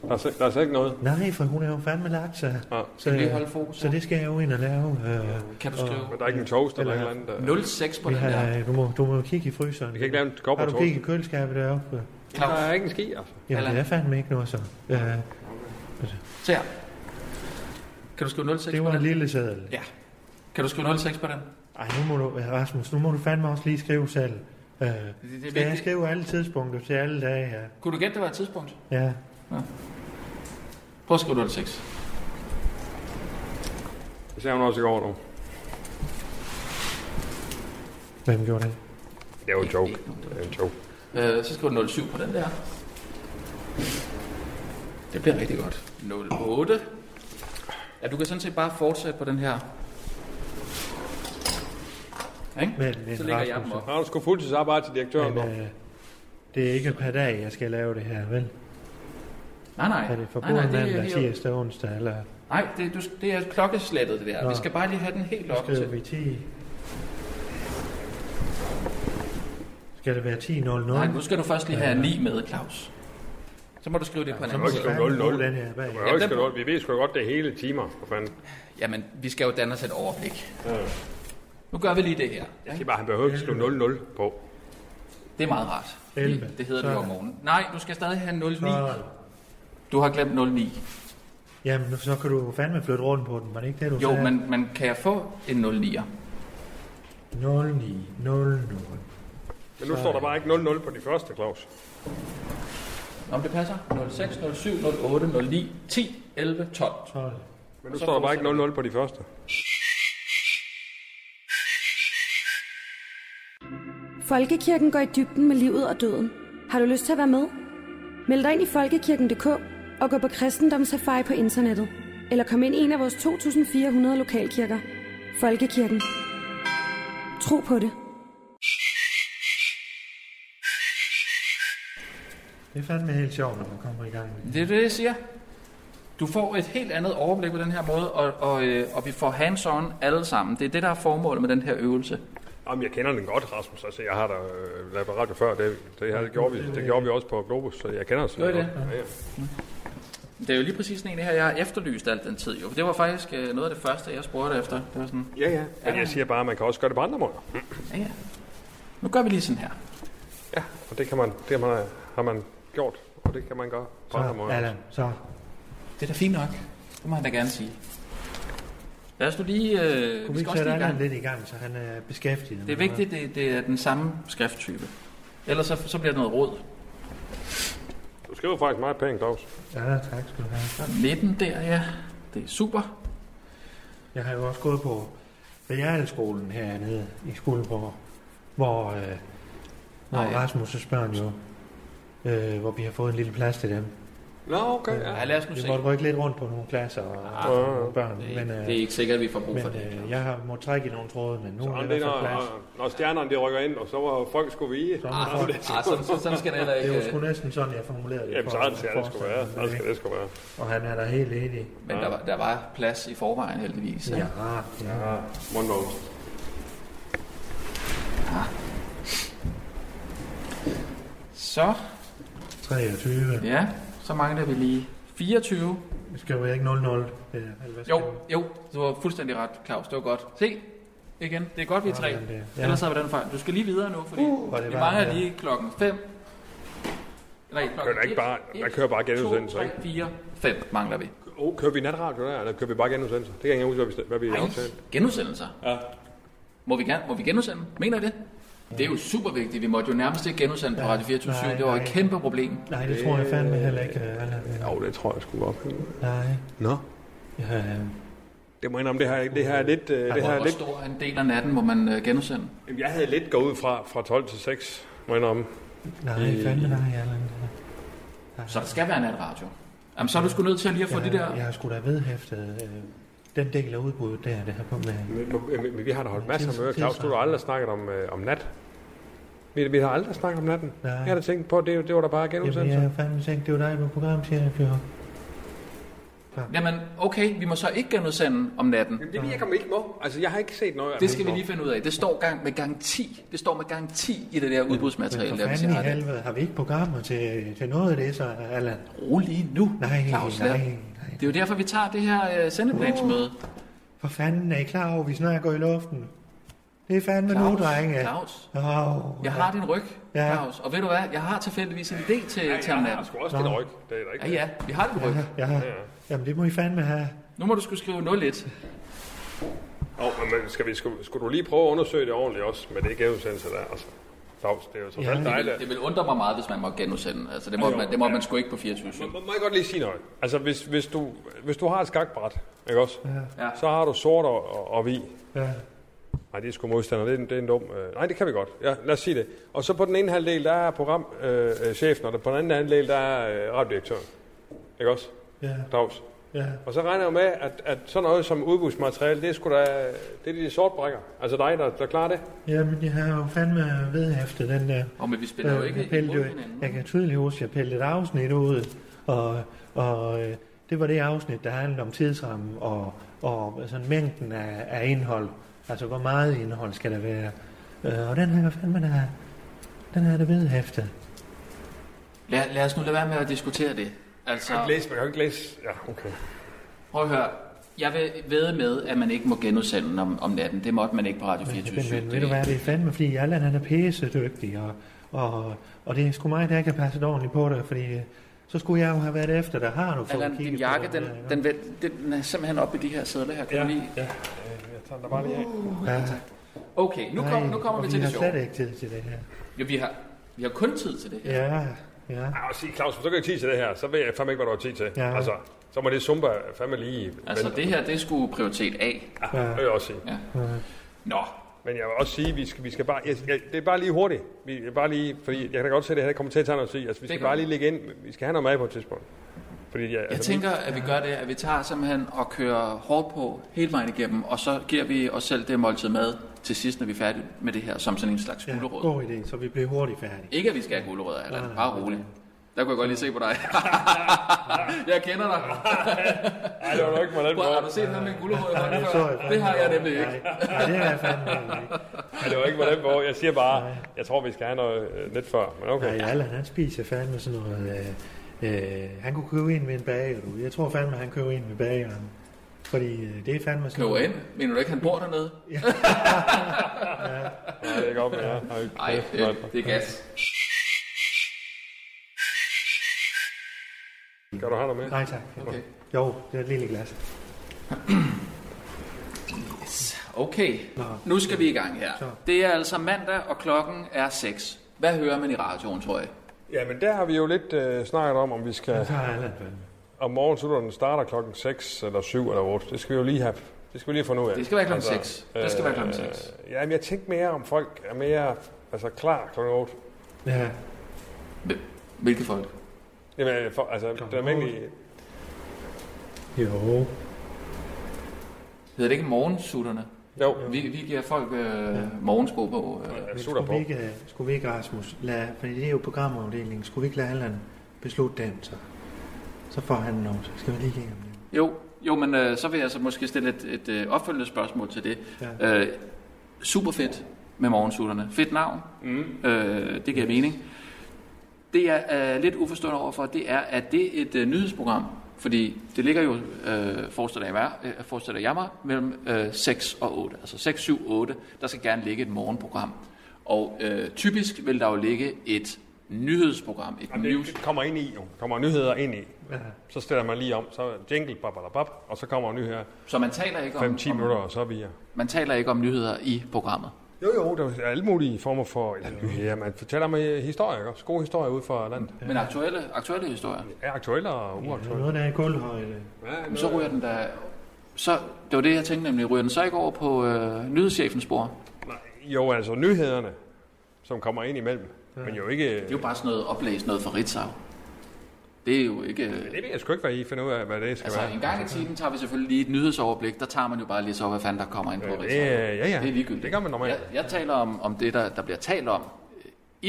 Der er, slet, der er slet ikke noget.
Nej, for hun er jo fandme lagt sig.
Ja.
Så, øh,
Skal vi lige holde fokus?
så det skal jeg jo ind og lave. Øh,
Kan du
og-
skrive
Men der er ikke en toast eller et
Eller-
eller andet. øh.
06 på
vi
den der?
har, du, må, du må jo kigge i fryseren.
Vi kan ikke lave en
Har
kopper
du
toast.
kigget i køleskabet deroppe?
Der
Claus,
er ikke en ski, altså.
Jamen,
Eller-
det er fandme ikke noget så. Øh,
se her. Kan du skrive 06
det
på
var en
den?
lille sædel.
Ja. Kan du skrive 06 på den?
Ej, nu må du, øh, Rasmus, nu må du fandme også lige skrive selv. Øh,
Det, det
skal
er
jeg
vigtigt.
skrive alle tidspunkter til alle dage? Ja.
Kunne du gætte, det var et tidspunkt?
ja.
Prøv at skrive 06.
Det ser hun også i går nu.
Hvem gjorde det?
Det er jo en joke. Det er en joke.
Øh, så skriver du 07 på den der. Det bliver rigtig godt. 08. Ja, du kan sådan set bare fortsætte på den her. Ikke?
Men, men
Så lægger jeg dem
Rasmus,
op.
Har du sgu fuldtidsarbejde til direktøren?
Men, øh, det er ikke per dag, jeg skal lave det her, vel?
Nej, nej.
Er det
nej, nej,
forbudt
det er
mandag,
helt-
tirsdag, onsdag, eller
Nej, det, du, det er klokkeslættet, det der.
Nå.
Vi skal bare lige have den helt op
skriver
til.
vi 10? Skal det være 10.00?
Nej,
Nej,
nu skal du først lige have 9 med, Claus. Så må du skrive det på en anden
må ikke
måde.
skrive 00.
Den her bag.
Vi har jo ikke skrevet- Vi ved sgu godt, det er hele timer. For fanden.
Jamen, vi skal jo danne os et overblik.
Ja.
Nu gør vi lige det her.
Jeg siger bare, han behøver ikke skrive 0-0 på.
Det er meget rart.
11.
Det hedder det jo
Sådan.
om morgenen. Nej, du skal stadig have 09.
Så,
Du har glemt 09.
jamen, nu- så kan du fandme flytte rundt på den, var det ikke det, du
Jo,
sagde?
men, men kan jeg få en 09'er?
09, 00.
Men nu står der bare ikke 0-0 på de første, Claus.
Om det passer? 06, 07, 08, 09, 10, 11, 12.
12.
Men nu står der bare ikke 0-0 på de første.
Folkekirken går i dybden med livet og døden. Har du lyst til at være med? Meld dig ind i folkekirken.dk og gå på kristendomssafari på internettet. Eller kom ind i en af vores 2.400 lokalkirker. Folkekirken. Tro på det.
Det er fandme helt sjovt, når man kommer i gang.
Det er det, jeg siger. Du får et helt andet overblik på den her måde, og, og, øh, og vi får hands-on alle sammen. Det er det, der er formålet med den her øvelse.
Jamen, jeg kender den godt, Rasmus. Altså, jeg har da øh, lavet radio før. Det, det, her, det, gjorde vi, det gjorde vi også på Globus, så jeg kender os.
Gjorde I det?
Ja, ja.
Det er jo lige præcis den ene her, jeg har efterlyst alt den tid. Jo. Det var faktisk øh, noget af det første, jeg spurgte efter. Det var sådan,
ja, ja. Men jeg siger bare, at man kan også gøre det på andre måder.
ja, ja. Nu gør vi lige sådan her.
Ja, og det, kan man, det har, man, har man gjort, og det kan man gøre på andre
Så,
måder.
Allan, så.
Det er da fint nok. Det må han da gerne sige. Lad os nu lige... Øh,
Kunne
vi
vi
skal
ikke
også lige
sætte
i gang.
Allan lidt i gang, så han er beskæftiget? med
Det er vigtigt, det, det er den samme skrifttype. Ellers så, så bliver det noget råd.
Du skriver faktisk meget pænt, Claus.
Ja, tak skal du have.
19 der, ja. Det er super.
Jeg har jo også gået på realskolen hernede i Skuldborg, hvor, øh, hvor
Nej.
Rasmus' børn jo, øh, hvor vi har fået en lille plads til dem.
Nå, okay. Ja.
Ja, lad os nu
Vi
se.
måtte rykke lidt rundt på nogle klasser og,
Ah,
og nogle børn,
Det er,
men, øh,
det er ikke sikkert, at vi får brug for
men
det. Ah,
øh, jeg har måttet trække i nogle tråde, men nu
Så
er
han,
der
det,
i
er,
hvert fald plads.
når, når stjernerne de rykker ind, og så var folk skulle vige.
Så er der
Ah,
folk.
ah, sådan, så- sådan skal det heller
Det er jo
ikke...
sgu
øh,
næsten sådan, jeg formulerede det.
Jamen,
for-
så er det, sådan, det
for-
skulle være.
for-
Så skal det skulle være.
Og han er da helt enig.
Men der var, der var plads i forvejen, heldigvis.
Ja,
Ja.
ja.
Mundlov.
Så,
23.
ja, så mangler vi lige 24.
Det skal jo ikke 0-0. det er- eller hvad skal
Jo,
det?
jo, du var fuldstændig ret, Claus. Det var godt. Se, igen, det er godt, vi er tre.
Sådan der. Ja.
Ellers havde vi den fejl. Du skal lige videre nu, fordi
Uh, hvor er det
vi
varmt
mangler
her.
lige klokken 5. Nej,
Kører der ikke bare, man kører bare genudsendelser,
2,
ikke?
3, 4, 5 mangler vi.
Oh, kører vi natradio der, eller kører vi bare genudsendelser? Det kan jeg ikke huske, hvad vi- hvad vi
Ej,
aftalte.
genudsendelser.
Ja.
Må vi, gerne, må vi genudsende? Mener I det? Det er jo super vigtigt. Vi måtte jo nærmest ikke genudsende på
Ja,
Radio 24
nej,
Det var et
nej.
kæmpe problem.
Nej, det tror jeg fandme heller ikke. øh, Allan.
Jo, det tror jeg sgu godt.
Nej.
Nå.
Ja, øh,
Det må jeg indrømme, det her, det her er lidt... øh, Det
Hvor,
her er
hvor
lidt
stor en del af natten må man øh, genudsende?
Jamen, jeg havde lidt gået ud fra, fra 12 til 6, må jeg indrømme.
Nej, fandme nej, Allan.
Så der skal være natradio. Jamen, så er du sgu nødt til at lige at få
jeg,
det der...
Jeg har sgu da vedhæftet øh, den del af udbuddet der, det her på med.
Men, øh, men, men vi har da holdt masser af
Tids-
møder, Claus. Du har
tidsradio.
aldrig snakket om, øh, om nat. Vi, vi har aldrig snakket om natten.
Nej.
Jeg havde tænkt på, at det, det var da bare
Jamen, jeg
genudsendelser.
har fandme tænkt, det var dig på programchef, jo.
Jamen, okay, vi må så ikke genudsende om natten.
Jamen, det virker man ikke må. Altså, jeg har ikke set noget af
Det skal vi lige finde ud af. Det står gang med garanti. Det står med garanti i det der udbudsmateriale, der,
For
hvis jeg
fanden i
har det.
helvede, har vi ikke programmer til, til noget af det, så Allan?
Rolig nu,
Nej,
Claus
nej,
Lapp.
nej.
Det er jo derfor, vi tager det her uh, sendeplansmøde.
For fanden, er I klar over, at vi snart går i luften? Det er fandme
Claus,
nu, drenge.
Claus.
Oh,
Jeg har din ryg,
Ja.
Claus. Og ved du hvad, jeg har tilfældigvis en idé til, til om
Jeg har
natten.
sgu også lidt ryg. Det er der ikke.
Ja, ja, vi har din ryg.
Ja, jamen det må I fandme have.
Nu må du skulle skrive 01.
Åh, oh, men skal, vi, skulle, skulle du lige prøve at undersøge det ordentligt også med det genudsendelse der? Altså, Claus, det er jo så
Ja.
ja,
Det vil,
dejligt.
det vil undre mig meget, hvis man må genudsende. Altså, det må, man, det må man sgu ikke på 24
Må, må jeg godt lige sige noget? Altså, hvis, hvis, du, hvis du har et skakbræt, ikke også?
Ja.
Så har du sort og, og, og hvid.
Ja.
Nej, det er sgu modstander. Det er, en- det er en dum... Øh, nej, det kan vi godt. Ja, lad os sige det. Og så på den ene halvdel, der er programchefen, øh, chefen, og der, på den anden halvdel, der er øh, radiodirektøren. Ikke også?
Ja,
Claus.
ja.
Og så regner jeg jo med, at, at sådan noget som udbudsmateriale, det er sgu da... Det er de sortbrækker. Altså dig, der, der klarer det.
Jamen, jeg har jo fandme ved efter den der.
Og men vi spiller jo
Øh,
ikke
jeg, pælte,
imod
jo-
hinanden.
jeg kan tydeligt huske, at jeg pældte et afsnit ud, og, og øh, det var det afsnit, der handlede om tidsrammen og, og sådan mængden af, af indhold. Altså, hvor meget indhold skal der være? Øh, og den her, fandme, der, den her, der ved hæftet.
Lad, lad os nu lade være med at diskutere det.
Jeg
Altså,
læse, man kan jo ikke læse. Ja, okay.
prøv at høre. Jeg vil ved med, at man ikke må genudsende om, om natten. Det måtte man ikke på Radio
Men,
24
men, men ved du hvad, det er fandme, fordi Allan han er pissedygtig, og, og, og det er sgu mig, der ikke har passet ordentligt på dig, fordi øh, så skulle jeg jo have været efter dig. Har du fået
Allan, din
kigget på
jakke,
dig?
den,
Ja.
den, den, den er simpelthen op i de her sædler her. Kan ja. lige?
ja. Øh, Jeg tager den da bare lige af.
Ja.
Okay, nu, kom,
Nej,
nu kommer
og
vi til
vi
det
har slet
sjove.
ikke tid til det her.
Ja, vi, har, vi har kun tid til det her.
Ja, ja.
Jeg vil sige, Claus, hvis du ikke har tid til det her, så ved jeg fandme ikke, hvad du har tid til.
Ja.
Altså, så må det zumba fandme lige...
Altså, det her, det skulle prioritet A.
Ja, det vil jeg også sige.
Ja.
Ja.
Nå,
Men jeg vil også sige, vi skal, vi skal bare, jeg, jeg, det er bare lige hurtigt. Vi, bare lige, fordi jeg kan da godt se, at det her kommer til at tage noget tid. Altså, vi skal
gør
bare
det.
lige lægge ind. Vi skal have noget mad på et tidspunkt. Fordi, ja,
Jeg
altså,
tænker, at vi gør det, at vi tager simpelthen og kører hårdt på hele vejen igennem, og så giver vi os selv det måltid med til sidst, når vi er færdige med det her, som sådan en slags
ja,
gulerod.
god idé, så vi bliver hurtigt færdige.
Ikke at vi skal have gulerødder,
Nej, nej.
eller bare roligt. Der kunne jeg godt lige se på dig. jeg kender dig.
Nej, det var nok ikke med den
Prøv, har du
måde.
set noget med en gulerod i
Ja,
hånden
det så jeg
før? Det har jeg
fandme.
nemlig ikke.
Nej, nej, det har jeg fandme ikke.
Nej, det var ikke med den måde. Jeg siger bare, jeg tror, vi skal have noget øh, lidt før. Men okay.
Nej, Allan han spiser fandme sådan noget... Øh, øh, han kunne købe ind med en bager, du. Jeg tror fandme, han køber ind med bageren. Fordi øh, det er fandme sådan...
Køber ind. Mener du ikke, han bor dernede?
Nej, det er godt med jer.
Nej, det, det er gas.
Kan du have noget med?
Nej, tak.
Okay.
Jo, det er et lille glas.
Okay, nu skal vi i gang her. Det er altså mandag, og klokken er 6. Hvad hører man i radioen, tror jeg?
Ja, men der har vi jo lidt øh, snakket om, om vi skal...
Så har Allan fandme.
Om morgenslutteren starter klokken 6 eller 7 eller 8. Det skal vi jo lige have. Det skal vi lige få nu af.
Det skal være klokken 6. Det skal være klokken 6.
Ja, men jeg tænkte mere, om folk er mere altså, klar klokken 8.
Ja,
Hvilke folk?
Jamen, øh, for, altså, det er
Klokken
almindelige...
jo.
Hedder det ikke morgensutterne?
Jo,
Vi, vi giver folk øh, morgensko på. Øh.
jeg
Men
sutter
skulle
på.
vi, ikke, øh, skulle vi ikke, Rasmus, lade, fordi det er jo programafdelingen, skulle vi ikke lade Allan beslutte dem, så, så får han noget. Så skal vi lige igennem det.
Jo, jo, men øh, så vil jeg så måske stille et, et øh, opfølgende spørgsmål til det. Ja. Øh, super fedt med morgensutterne. Fedt navn. Mm. Øh, det giver mening. Det jeg er lidt uforstående overfor, det er, at det er et øh, nyhedsprogram, fordi det ligger jo, øh, forestiller, jeg mig, øh, forestiller jeg mig, mellem øh, 6 og 8. Altså 6, 7, 8, der skal gerne ligge et morgenprogram. Og øh, typisk vil der jo ligge et nyhedsprogram, et
Jamen,
news.
det, det kommer ind i, jo. Kommer nyheder ind i.
Ja.
Så stiller man lige om, så jingle, babalabab, og så kommer nyheder
Så man taler ikke om,
5-10
om
minutter, og så er vi her.
Man taler ikke om nyheder i programmet.
Jo, jo, der er alle mulige former for eller, nyheder. Man fortæller om øh, historier, ikke? også? Gode historier ude fra landet.
Men aktuelle, aktuelle historier.
Er aktuelle og
Så
uaktuelle.
noget, der er i gulvhøjde.
Jamen, så ryger den da... Så, det var det, jeg tænkte nemlig. Ryger den så ikke over på øh, nyhedschefens spor? Det
Jo, altså nyhederne, som kommer ind imellem. Men jo ikke...
er jo bare sådan noget oplæst noget fra Ritzau. Det er jo ikke... øh,
Det ved jeg sgu ikke, hvad I finder ud af, hvad det skal
Altså,
være.
en gang i timen tager vi selvfølgelig lige et nyhedsoverblik. Der tager man jo bare lige så, hvad fanden der øh, i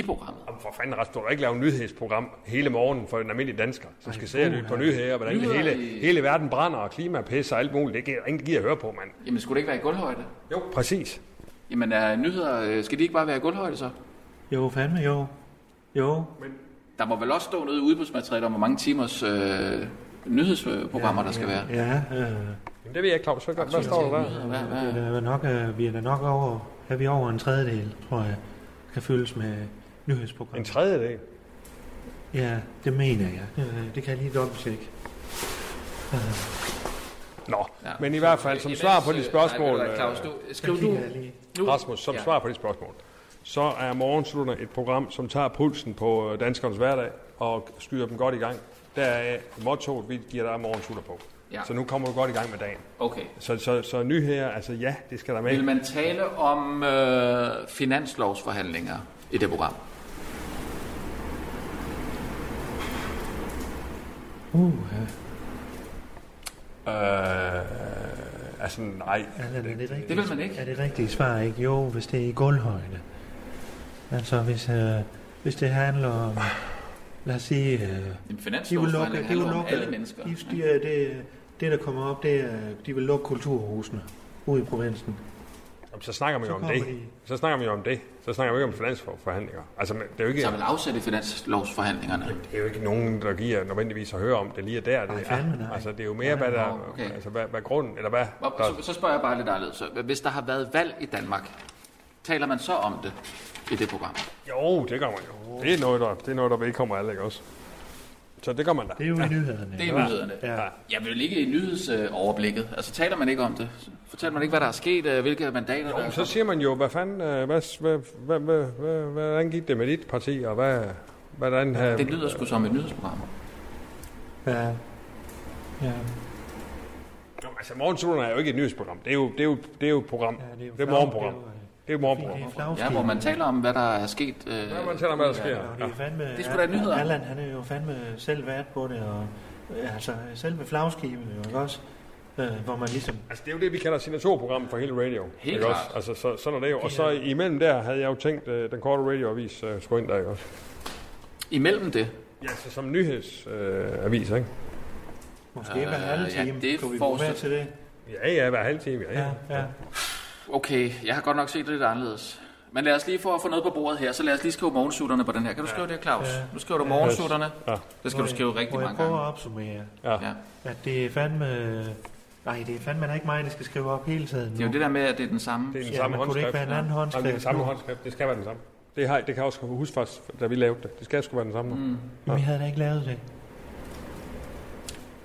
programmet.
Jamen, for fanden, Rasmus, du har ikke lavet et nyhedsprogram hele morgenen for en almindelig dansker, som skal sidde og lytte på nyheder, og hvordan
Nyheder
hele,
i-
hele verden brænder, og klima pisser og alt muligt. Det giver der ingen gider at høre på, mand.
Jamen, skulle det ikke være i gulvhøjde?
Jo, præcis.
Jamen, er nyheder, øh, skal de ikke bare være i gulvhøjde så?
Jo, fandme jo. Jo,
Der må vel også stå noget i udbudsmateriale om, hvor mange timers øh, nyhedsprogrammer, der skal være.
ja, øh,
Jamen, det ved jeg ikke, Claus. Hvad, hvad står der der?
Hvad, hvad?
det er da nok, øh, vi er da nok over, er vi over en tredjedel, tror jeg, kan fyldes med nyhedsprogrammer.
En tredjedel.
Ja, det mener jeg. Øh, Det kan jeg lige dobbelt tjekke.
Nå,
Ja.
ja. men i hvert fald, som svar på de spørgsmål,
Nej, Claus,
øh,
du, skriv du nu.
Rasmus, som
Ja.
svar på de spørgsmål, så er Morgenslutter et program, som tager pulsen på øh, danskernes hverdag og skyder dem godt i gang. Der er mottoet, vi giver dig Morgenslutter på.
Ja.
Ja. Så nu kommer du godt i gang med dagen.
Okay.
Så, så, så nyheder, altså ja, det skal der med.
Vil man tale om øh, finanslovsforhandlinger i det program?
Uh, ja.
Øh, altså nej.
Allan, er det rigtigt?
Det vil man ikke.
Er det rigtige svar ikke? Jo, hvis det er i gulvhøjde. Altså, hvis, øh, hvis det handler om... Lad os sige... Øh,
En
de vil
finanslovsforhandling
lukke... De vil
handler om
lukke
alle mennesker.
De,
ikke?
de, det, det, der kommer op, det er... De vil lukke kulturhusene ude i provinsen.
Jamen, Så snakker man jo
Så
om
kommer
det.
de.
Så snakker man jo om det. Så snakker man jo ikke om finansforhandlinger. Altså, men det er jo ikke,
Så vil afsætte i finanslovsforhandlingerne.
det er jo ikke nogen, der giver nødvendigvis at høre om det lige er der.
Nej,
Det
fandme nej.
er. Altså, det er jo mere, hvad, der,
okay.
altså, hvad, hvad grunden, eller hvad
Og
der
Så, så spørger jeg bare lidt anderledes. Så Hvis der har været valg i Danmark, taler man så om det i det program?
Jo, det gør man jo. Det er noget, der, det er noget, der vedkommer alle, ikke også? Så det gør man da.
Det er jo i nyhederne.
Det er nyhederne.
Ja.
Jeg vil ligge i nyhedsoverblikket. Altså taler man ikke om det? Fortæller man ikke, hvad der er sket, øh, hvilke mandater der er
Jo, så
kommet?
siger man jo, hvad fanden, øh, hvad, hvad, hvad, hvad, hvad, hvordan gik det med dit parti, og hvad, hvordan... øh,
Det lyder sgu som et nyhedsprogram.
Ja. Ja.
Jo, altså, morgensolen er jo ikke et nyhedsprogram. Det er jo, det er jo, det er jo et program.
Ja, det er jo
det er et
flag-
morgenprogram.
det er jo, øh,
Det er et morgenprogram.
Det er flagskib.
Ja, hvor man taler om, hvad der er sket. Øh,
Ja, man taler om, hvad der sker.
Ja, og det er fandme...
Det er sgu da nyheder.
Allan, han er jo fandme selv vært på det, og øh, altså selve flagskibet, jo ikke også? Øh, hvor man ligesom...
Altså, det er jo det, vi kalder signaturprogrammet for hele radio.
Helt
ikke også?
klart.
Altså, så, sådan er det jo. Og så imellem der havde jeg jo tænkt, øh, den korte radioavis øh, skulle ind der, ikke også?
Imellem det.
Ja, så som nyhedsavis, øh, ikke?
Måske øh, hver
Øh,
halve
ja,
time,
det
kunne vi gå
forestiller-
med til det.
Ja, ja, hver halv time, ja. ja.
Ja, ja.
Okay, jeg har godt nok set det lidt anderledes. Men lad os lige for at få noget på bordet her, så lad os lige skrive morgensutterne på den her. Kan du skrive det, Claus?
Ja.
Nu skriver du morgensutterne.
Ja.
Det skal du skrive rigtig
Må jeg
mange
prøve
gange.
at opsummere,
Ja.
at det er fandme... Nej, det er fandme da ikke mig, der skal skrive op hele tiden nu.
Det er jo det der med, at det er den samme.
Det er den
Ja,
samme
men kunne det
håndskrift.
ikke være en anden
Ja. Jamen,
håndskrift
det er den samme
nu?
håndskrift. Det skal være den samme. Det, har, det kan jeg også huske faktisk, da vi lavede det. Det skal sgu være den samme. Mm.
Men vi havde da ikke lavet det.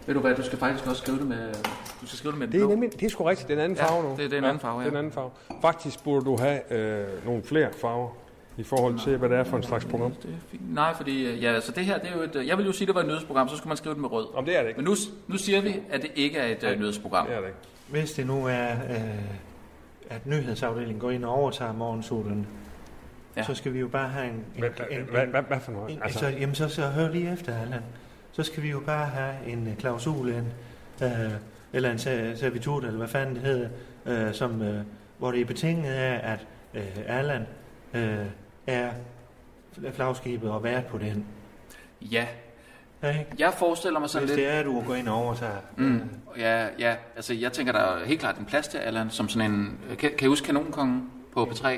Ved du hvad, du skal faktisk også skrive det med... Du skal skrive det med en
Det er
blå.
nemlig, det er sgu rigtigt, det er en anden
Ja,
farve nu.
det er- det er en anden farve, ja.
Det er en anden farve. Faktisk burde du have øh, nogle flere farver i forhold til, hvad det er for en slags program.
Det er fint. Nej, fordi øh, ja, altså det her, det er jo et... øh, Jeg ville jo sige, det var et nyhedsprogram, så skulle man skrive det med rød.
Om det er det ikke.
Men nu, nu siger vi, at det ikke er et øh, nyhedsprogram.
Det er det ikke.
Hvis det nu er, øh, at nyhedsafdelingen går ind og overtager morgensolen,
Ja.
ja. så skal vi jo bare have en... en,
Hvad,
en, en,
hvad, hvad, hvad for noget?
en altså, jamen, så, så hør lige efter, Allan. Så skal vi jo bare have en øh, klausul, en, øh, eller en ser- servitut, eller hvad fanden det hedder, øh, som, øh, hvor det er betinget af, at øh, Allan øh, er flagskibet og vært på den.
Ja.
Ja, ikke?
Jeg forestiller mig sådan
Hvis
lidt...
det er, at du går ind og overtager...
Mm. Ja, ja. Altså, jeg tænker, der er helt klart en plads til Allan, som sådan en... øh, Kan, kan I huske Kanonkongen på P3?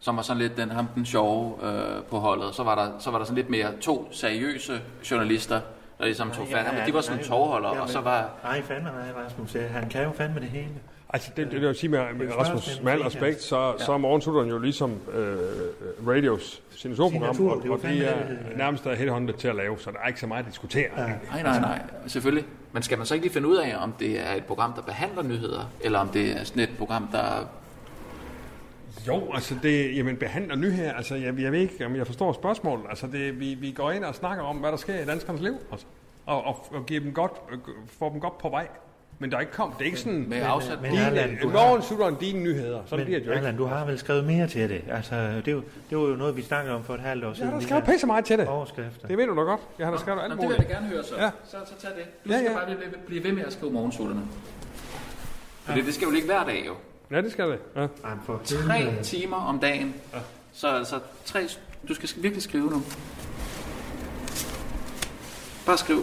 Som var sådan lidt den, ham den sjove øh, på holdet. Så var, der, så var der sådan lidt mere to seriøse journalister, der ligesom tog fat. Ja, ja, de var sådan
nej,
tovholdere,
jamen,
og så var...
Nej, fandme nej, Rasmus. Ja, Han kan jo fandme det hele.
Altså, det, det vil jeg sige med, med Rasmus, med al respekt, så, så er morgensutteren jo ligesom øh, radios signaturprogram,
Signatur,
og,
det er jo
og
fandme øh,
de
det, det
er nærmest er helt håndet til at lave, så der er ikke så meget at diskutere. Ja.
Nej, nej, nej. altså, Selvfølgelig. Men skal man så ikke lige finde ud af, om det er et program, der behandler nyheder, eller om det er sådan et program, der...
Jo, altså det, jamen behandler nyheder, altså jeg, jeg ved ikke, om jeg forstår spørgsmålet, altså det, vi, vi går ind og snakker om, hvad der sker i danskernes liv, altså, og, og, og giver dem godt, øh, får dem godt på vej. Men der er ikke kom, det er ikke sådan,
Med afsat...
men-
dine,
Erland, du har-
Morgen Sutteren, dine nyheder, sådan bliver det
Men
jo ikke.
Allan, du har vel skrevet mere til det. Altså, det, er jo, det var jo noget, vi snakkede om for et halvt år
Ja,
siden.
der
de
skal
her
pisse meget til det.
Overskrifter.
Det ved du da godt. Jeg har da skrevet
Nå,
alt
det vil jeg
muligt.
da gerne høre så.
Ja.
Så, så tag det. Du
Ja,
skal
ja.
bare blive, blive ved med at skrive morgensolerne. Fordi det skal jo ligge hver dag jo.
Ja, det skal det. Ja.
Ej, men for altså.
Tre
helvede.
timer om dagen. Så, så tre Du skal virkelig skrive nu. Bare skriv.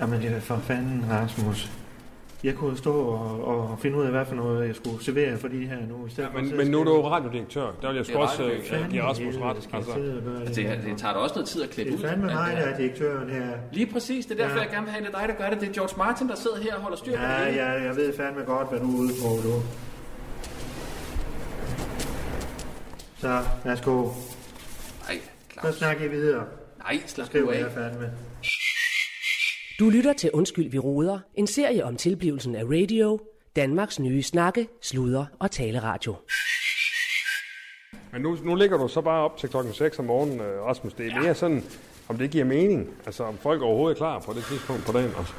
Jamen, det er for fanden, Rasmus. Jeg kunne stå og, og finde ud af, hvad for noget jeg skulle servere for de her nu. I stedet for at
Men,
sidde
men nu
og
er du
skrive-
jo radiodirektør. Der vil jeg sgu
Det er
også øh,
radiodirektør.
give Rasmus
Fanden i helvede,
ret.
skal jeg
Altså,
sidde og gøre
Altså, det, det tager da også noget tid at klippe
Det
ud.
er fandme
alt
mig,
det
der
her.
er direktøren her.
Lige præcis, det er derfor,
Ja.
ja. jeg gerne vil have, det er dig, der gør det. Det er George Martin, der sidder her og holder styr på
Ja,
det hele.
ja, jeg ved fandme godt, hvad du er ude på, du. Så, værsgo.
Nej,
Så
Claus.
snakker I videre.
Nej, slap nu
Skriver
af.
jeg fandme.
Du lytter til Undskyld, vi roder. En serie om tilblivelsen af radio. Danmarks nye snakke, sludre og taleradio.
men nu, nu ligger du så bare op til klokken 6 om morgenen, øh, Rasmus. Det er mere sådan, om det giver mening. Altså, om folk overhovedet er klar på det tidspunkt på dagen. Altså.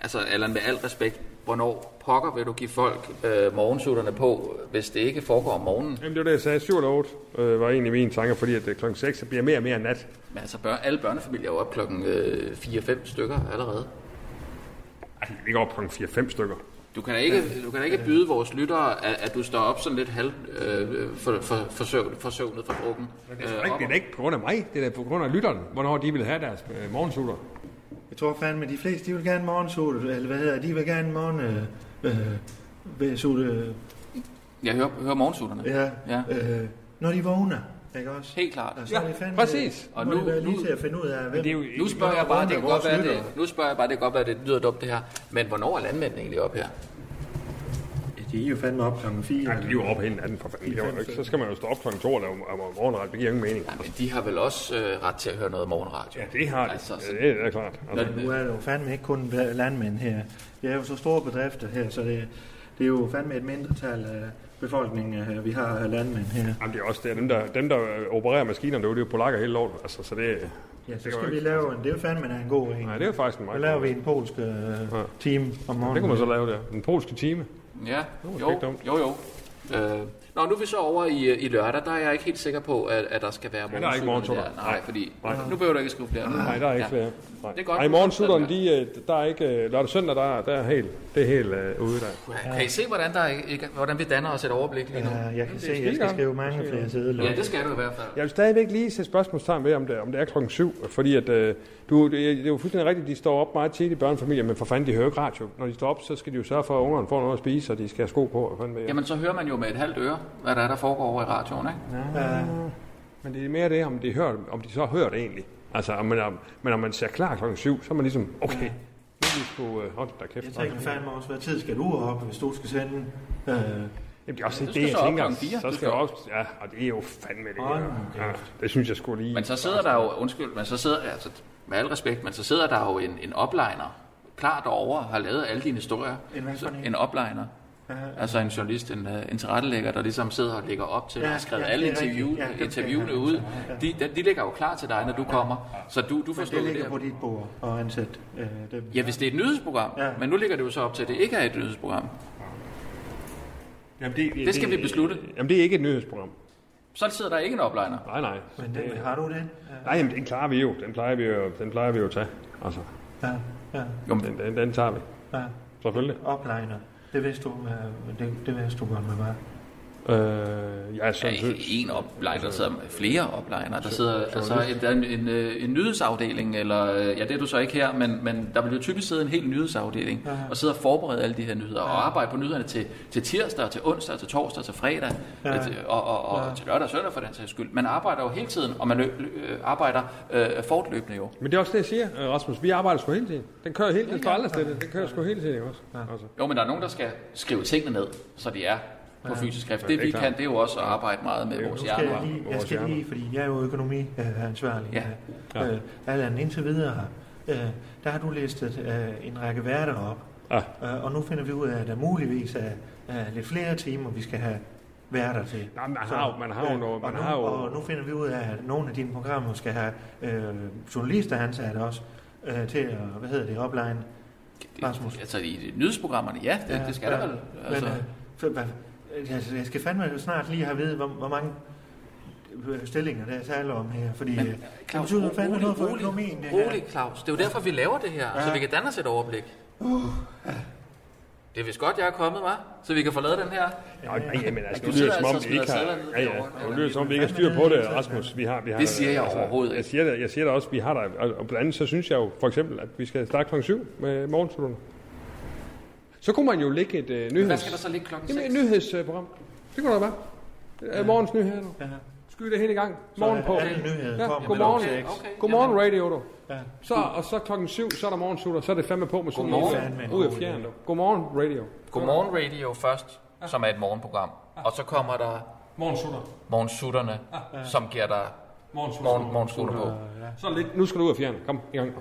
Altså, Allan, med al respekt, hvornår pokker vil du give folk øh, morgensutterne på, hvis det ikke foregår om morgenen?
Jamen, det var det, jeg sagde. 7 eller 8 øh, var egentlig mine tanker, fordi at øh, klokken 6 så bliver mere og mere nat.
Men altså, bør, alle børnefamilier er jo op klokken øh, 4-5 stykker allerede.
Ej, Altså, vi ligger op klokken 4-5 stykker.
Du kan da ikke, du kan da ikke byde vores lyttere, at, at du står op sådan lidt halv øh, for, for, for, søvn, for søvnet fra øh, drukken.
Det er, ikke, det er da ikke på grund af mig, det er da på grund af lytteren, hvornår de vil have deres øh, morgensutter.
Jeg tror fandme, de fleste, de vil gerne morgensol, eller hvad hedder det, de vil gerne morgen... Øh, øh, ved sol, øh,
Jeg hører, hører morgensutterne.
ja,
Ja.
ja. Øh, når de vågner, ikke også?
Helt klart.
Og så er
Ja,
det fandme,
præcis.
Og
Og
nu,
nu-
det være lige
nu-
til at finde ud af, hvem...
Men Altså, det er jo
Nu spørger jeg bare, det kan
Vores
godt være,
lyttere.
det, nu spørger jeg bare, det kan godt være, det lyder dumt det her. Men hvornår er landmændene egentlig op her?
De er jo fandme op klokken 4.
Ja, de er jo op hele natten for fanden. Det er jo ikke- Så skal man jo stå op klokken 2 og lave om morgenret. Det giver ingen mening.
Jamen, de har vel også øh, ret til at høre noget morgenradio.
Ja, det har de.
Altså, så-
Ja, det er klart. Altså,
Når-
Nu er det jo fandme ikke kun landmænd her. Det er jo så store bedrifter her, så det, det er jo fandme et mindretal af befolkningen, øh, vi har af landmænd her.
Jamen, det er også det. Dem, der, dem, der øh, opererer maskinerne, derude, det er jo polakker hele lort. Altså, så det,
Ja,
Det
så
kan jo
skal vi
ikke-
lave en... Det er jo fandme da en god en.
nej, det er jo faktisk en
Så
meget
laver
god-
vi en polsk øh, team om morgenen.
Det kunne man så lave der. Den polske time.
Ja,
var det
jo,
ikke dumt.
jo, jo. Øh, nå, nu er vi så over i, øh, i lørdag, der er jeg ikke helt sikker på, at, at der skal være
der er ikke
morgensutterne
morgensutter.
der. Nej,
Nej.
fordi
Nej.
nu behøver du ikke skrive flere.
Nej, der er ikke flere. Nej,
Det er godt.
Ej, morgensutterne, de, øh, der er ikke... øh, Lørdag og søndag, der, er- der er helt, det er helt øh, ude der.
Ja. Kan I se, hvordan, der er, ikke, hvordan vi danner os et overblik lige nu?
Ja, jeg kan se, at jeg skal
skidegodt.
skrive mange flere sædler.
Ja, det skal du i hvert fald.
Jeg vil stadigvæk lige sætte spørgsmålstegn ved, om det, om det er klokken syv, fordi at, øh, du, det, det er jo fuldstændig rigtigt, de står op meget tidligt i børnefamilier, men for fanden, de hører ikke radio. Når de står op, så skal de jo sørge for, at ungerne får noget at spise, og de skal have sko på. Og fanden ved jeg.
Jamen, så hører man jo med et halvt øre, hvad der er, der foregår over i radioen, ikke?
Men det er mere det, om de, hører, om de så har hørt egentlig. Altså, om man, om, men om man ser klar klokken syv, så er man ligesom, okay, nu er de sgu, øh, hold da kæft.
Jeg
drenge.
tænker fandme også, hvad tid skal du op, hvis du skal sende? Øh,
Jamen, det er også
Du
det,
skal
jeg
så op
tænker.
klokken fire.
Så
Du
skal
skal
jeg
op.
også, ja, og det er jo fandme det.
Hold
her.
nu
Ja, det synes jeg skulle lige.
Men så sidder der jo, undskyld, men så sidder, altså, med al respekt, men så sidder der jo en, en opliner klar derovre, har lavet alle dine historier.
En hvad for
Så-
en?
en opliner.
Ja.
Altså en journalist, en, øh, en tilrettelægger, der ligesom sidder og lægger op til,
Ja,
ja, har skrevet
ja,
alle
det er rigtigt.
interview,
Ja,
ja,
dem
interviewene
kender jeg.
ud. De, de, de ligger jo klar til dig, når du kommer. Så du, du
men
forstår
det
det.
ligger på
der.
dit bord og ansæt øh, dem.
Ja, hvis det er et nyhedsprogram.
Ja.
Ja. Men nu ligger det jo så op til, at det ikke er et nyhedsprogram.
Jamen, det,
Det skal vi beslutte.
Jamen, det er ikke et nyhedsprogram.
Så sidder der ikke en opliner.
Nej, nej.
Men den, har du det?
Nej, jamen, den klarer vi jo. Den plejer vi jo, den plejer vi jo at tage. Altså,
Ja, ja,
Jo, men
den, den, den tager vi.
ja.
Selvfølgelig.
Opliner. Det vidste du, øh, det, det vidste du godt med mig.
Øh, jeg er
Ja,
sådan
ikke
set.
en oplejner, der sidder med flere oplejner. Der sidder altså et, der er en, en, øh, en nyhedsafdeling, eller øh, ja, det er du så ikke her, men, men der vil jo typisk sidde en hel nyhedsafdeling, og sidde og forberede alle de her nyheder, og arbejde på nyhederne til, til tirsdag, til onsdag, til torsdag, til fredag, øh, til, og, og, og til lørdag og søndag for den sags skyld. Man arbejder jo hele tiden, og man ø- øh, arbejder øh, fortløbende jo.
Men det er også det, jeg siger, øh, Rasmus. Vi arbejder sgu hele tiden. Den kører hele tiden. Den står aldrig stille. Den kører sgu hele tiden, ikke også? Altså.
Jo, men der er nogen, der skal skrive tingene ned, så de er på fysisk skrift. Det
er
vi
klart.
kan, det er jo også at arbejde meget med vores
Skal
hjerner.
jeg, lige, jeg
vores
skal
hjerner.
lige, fordi jeg er jo økonomiansvarlig.
Ja.
Ja.
Øh, Allan, indtil videre her, øh, der har du listet øh, en række værter op,
Ja.
øh, og nu finder vi ud af, at der muligvis er øh, lidt flere timer, vi skal have værter til.
Nej, man har jo- man har jo
øh,
noget-
og
man
nu,
har jo-
Og nu finder vi ud af, at nogle af dine programmer skal have øh, journalister ansat også øh, til at, hvad hedder det, opline. Rasmus.
Det, altså i nyhedsprogrammerne, ja, det, det skal der vel. Altså.
Men, øh, for- hvad- altså, jeg skal fandme snart lige have ved, hvor, hvor mange øh, stillinger der er tale om her, fordi men,
Claus,
det betyder
rolig,
fandme noget for
rolig,
økonomien, det her. Uh,
rolig, Claus. Det er jo derfor, vi laver det her, så vi kan danne os et overblik. Det er vist godt, jeg er kommet, var, så vi kan få lavet den her.
Nej, nej, men altså,
Du
det
sidder
lyder som om,
altså
vi
og
ikke
smider
har...
sedler ned
Ja, ja,
derovre.
det lyder som om, vi ikke har styr på det, Rasmus. Vi har, vi har,
Det siger jeg overhovedet
Jeg
ikke.
siger det, jeg siger det også, vi har der... Og, og blandt andet, så synes jeg jo for eksempel, at vi skal starte kl. 7 med morgenstunden. Så kunne man jo lægge et øh, nyheds...
Hvad skal der så ligge klokken
Jamen, et
6?
nyhedsprogram. Det kunne der være. Ja. Morgens nyheder. Ja. Skyde det hele i gang. Morgen på.
Alle nyheder
Ja,
kommer
godmorgen.
klokken seks.
Okay.
Godmorgen, radio, du.
Ja.
Så, og så klokken 7, så er der morgensutter, så er det fandme på med solen.
Godmorgen.
Ud af- Ud af fjern, du. Godmorgen, radio.
Godmorgen Radio først, som er et morgenprogram. Og så kommer der
Morgensutter.
morgensutterne, som giver dig
Morgensutter.
morgen, morgensutter på.
Så lidt. Nu skal du ud af fjern. Kom, i gang.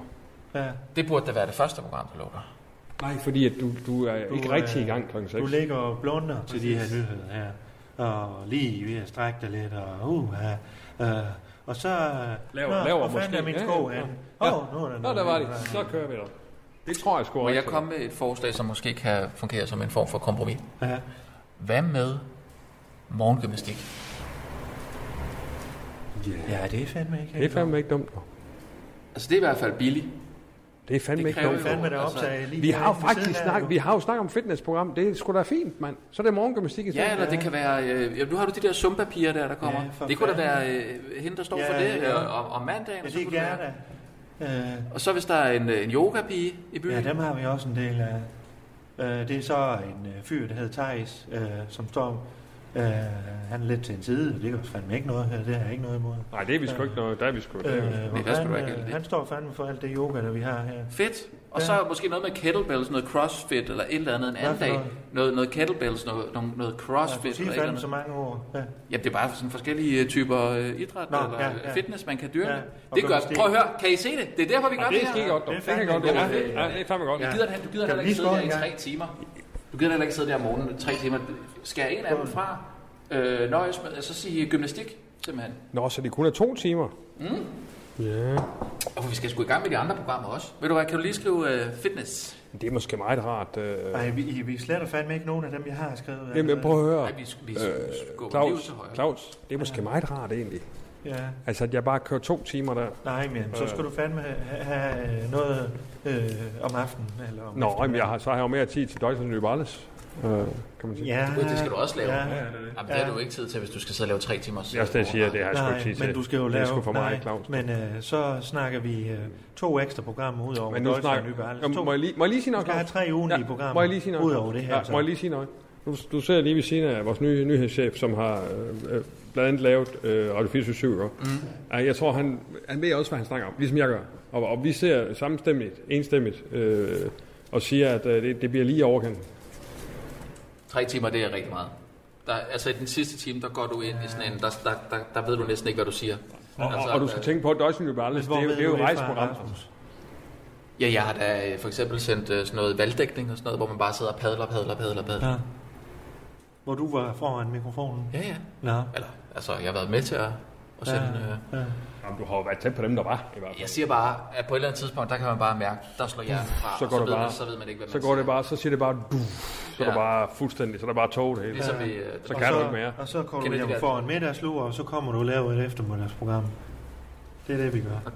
Ja.
Det burde da være det første program, du lukker.
Nej, fordi at du, du er du, ikke
er-
rigtig i gang klokken 6.
Du ligger og blunder til de her nyheder her. Og lige ved at strække dig lidt, og uh, uh, og så... øh,
Laver-
nå,
laver
hvor fanden
måske.
er min
Ja,
sko
ja,
henne?
ja.
Åh, nu er der
Nå,
noget
der var
nyt.
det. Så kører vi da. Det tror jeg sgu
Må jeg
rigtigt.
komme med et forslag, som måske kan fungere som en form for kompromis?
Ja.
Hvad med morgengymnastik?
ja, det er fandme ikke
Det er fandme ikke dumt. du.
Altså, det er i hvert fald billigt.
Det er fandme
Det
ikke
kræver
dumt.
jo-
fandme der
Altså,
optaget lige
Vi har jo
herinde ved
faktisk
siden af,
snak,
du.
vi har jo snakket om fitnessprogram. Det er sgu da fint, mand. Så er det morgengymnastik i stedet.
Ja, eller det kan være... Øh, ja, nu har du de der zumba-piger der, der kommer.
Ja, for
Ja, det kunne da
fanden.
være øh, hende, der står
Ja,
ja, for det
ja.
ja. Øh, om, om mandagen.
Ja,
og så
det er
kunne det være-
gerne. Øh,
Og så hvis der er en, øh, en yoga-pige i byen.
Ja, dem har vi også en del af. Øh, det er så en øh, fyr, der hedder Thijs, øh, som står... Øh, han er lidt til en side, og det er jo fandme ikke noget her. Det har jeg ikke noget imod.
Nej, det er vi sgu ikke noget. Der er vi sgu.
Øh,
Øh.
og
der skal du
han,
ikke
øh,
have det.
han står fandme for alt det yoga, der vi har her.
Fedt. Og
Ja.
ja. så måske noget med kettlebells, noget crossfit eller et eller andet en anden
for
dag.
noget?
Noget, noget kettlebells, noget, noget, noget
Jeg kunne
crossfit eller
sige
et eller
fandme så
andet.
mange år. Ja.
Ja, det er bare sådan forskellige øh, typer øh, idræt
Nå,
Nå, eller
ja,
ja,
ja.
fitness, man kan dyrke.
Ja,
Ja,
og
det gør,
gymnastik.
prøv at høre, kan I se det? Det er derfor, vi gør
Ja, det
det
er
her.
skide godt, dog.
Det er
Det kan
fandme
godt.
en
Ja,
god idé, ja.
ja, det er fandme godt.
Du gider, du gider heller
Kan vi lige
ikke sidde her
skåle
i
en
tre timer. Du gider heller ikke sidde der om morgenen i tre timer. Skal en af dem fra? Øh, nøjes med, så sige gymnastik, simpelthen.
Nå, så det kun er to timer.
Og vi skal sgu i gang med de andre programmer også. Ved du hvad, kan du lige skrive øh, fitness?
Men Det er måske meget rart. Øh.
Ej, vi, I- vi sletter fandme ikke nogen af dem, jeg har skrevet.
Jamen, prøv at høre.
Nej, vi, vi
Øh,
skubber øh, livet
Claus,
til højre.
Claus, det er måske meget rart egentlig.
Ja.
Altså, at jeg bare kører to timer der.
Nej, men så skal du fandme have, have øh, noget øh, om aftenen. Eller om
Nå, jamen, jeg har, så har jeg jo mere tid til Deutsche Nye Balles, øh, kan man sige.
Ja,
Gud, det skal du også lave.
Ja,
Jamen, det har du ikke tid til, hvis du skal sidde og lave tre timer.
Det er også det, jeg siger, det har jeg sgu ikke
Nej,
tid til.
men du skal jo
Det er
lave...
sgu for
nej,
meget, Claus.
men øh, så snakker vi øh, to ekstra programmer ud over
Men nu
Deutsche
snakker...
Nybe Alles.
Jamen,
To-
må, jeg lige, må jeg lige sige
Du
noget,
skal have
Claus?
tre ugenlige programmer
må jeg lige sige noget?
ud over det her.
Ja,
så.
må jeg lige sige noget? Du, du sidder lige ved siden af vores nye nyhedschef, som har øh, øh, blandt andet lavet øh, Radio 24 mm. Jeg tror, han, han ved også, hvad han snakker om, ligesom jeg gør. Og, og vi ser samstemmigt, enstemmigt, øh, og siger, at øh, det, det bliver lige overkendt.
Tre timer, det er rigtig meget. Der, altså i den sidste time, der går du ind i sådan en, der, der, der, der ved du næsten ikke, hvad du siger. Altså,
Og, og, og du skal tænke på, at Deutsche Nye Balles, det
altså, Hvor
er jo,
ved
det er
du
jo
fra,
rejseprogram.
Rasmus?
Ja, jeg har da øh, for eksempel sendt øh, sådan noget valgdækning og sådan noget, hvor man bare sidder og padler, padler, padler, padler.
Ja. Hvor du var foran mikrofonen.
Ja, ja.
Nå.
Eller, altså, jeg har været med til at, at sende... Øh,
Ja.
Jamen, du har jo været tæt på dem, der var, i hvert fald.
jeg siger bare, at på et eller andet tidspunkt, der kan man bare mærke, der slår hjernen fra,
Så
og
går
så,
det
ved
bare-
man, så ved man ikke, hvad man
Så går det bare, så siger det bare, du, så er
Ja.
der bare fuldstændig, så er der bare tog det hele.
Ligesom i, øh,
Så
Og
kan
så,
du ikke mere.
Og så kommer
Kender
du
de
hjem
der-
foran middagslur, og så kommer du og laver et eftermiddagsprogram. Det er det, vi gør.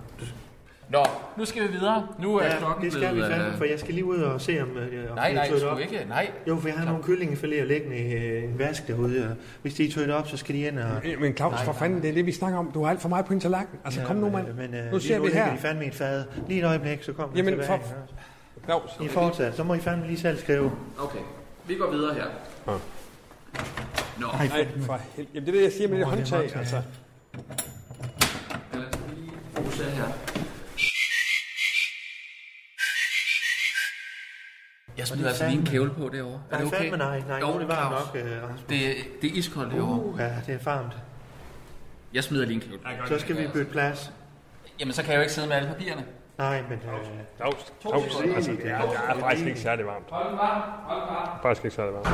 Nå, nu skal vi videre. Nu er
Ja,
klokken
det skal vi
blevet...
fandme,
øh,
for jeg skal lige ud og se, om, øh, om
Nej,
de er
nej,
tødt
sgu
op.
ikke. Nej,
Jo, for jeg har nogle kyllingefiléer liggende i øh, en vask derude, og hvis de er tødt op, så skal de ind og...
Øh, Men Claus, for fanden, det er det, vi snakker om. Du har alt for meget på en tallerken. Altså, kom nu, mand.
Men, men øh,
nu
lige
ser
nu
vi
ligger
her.
de fandme i et fad. Lige et øjeblik, så kommer
Jamen,
de tilbage.
for-
ikke?
Claus,
I fortsat, så må I fandme lige selv skrive.
okay. Vi går videre her.
Ja.
Nå,
Ej,
nej, for hel... Jamen, det er det, jeg siger med det
Nå, det er
håndtag,
håndtag.
altså.
lad os lige fokusere her. Jeg smider altså lige en kævle på derovre. Er
Nej,
det okay?
fandme nej. Nej,
Jo,
nu er det varmt
Claus.
nok, øh, Rasmus.
Det, er- det er iskoldt derovre.
Uh, ja, det er varmt.
Jeg smider lige en kævle på.
Så skal vi bytte plads.
Jamen, så kan jeg jo ikke sidde med alle papirerne.
Nej, men... Øh,
Claus, Claus, altså, det er, det er faktisk ikke særlig varmt.
Hold den varm, hold den varm.
Faktisk ikke særlig varmt.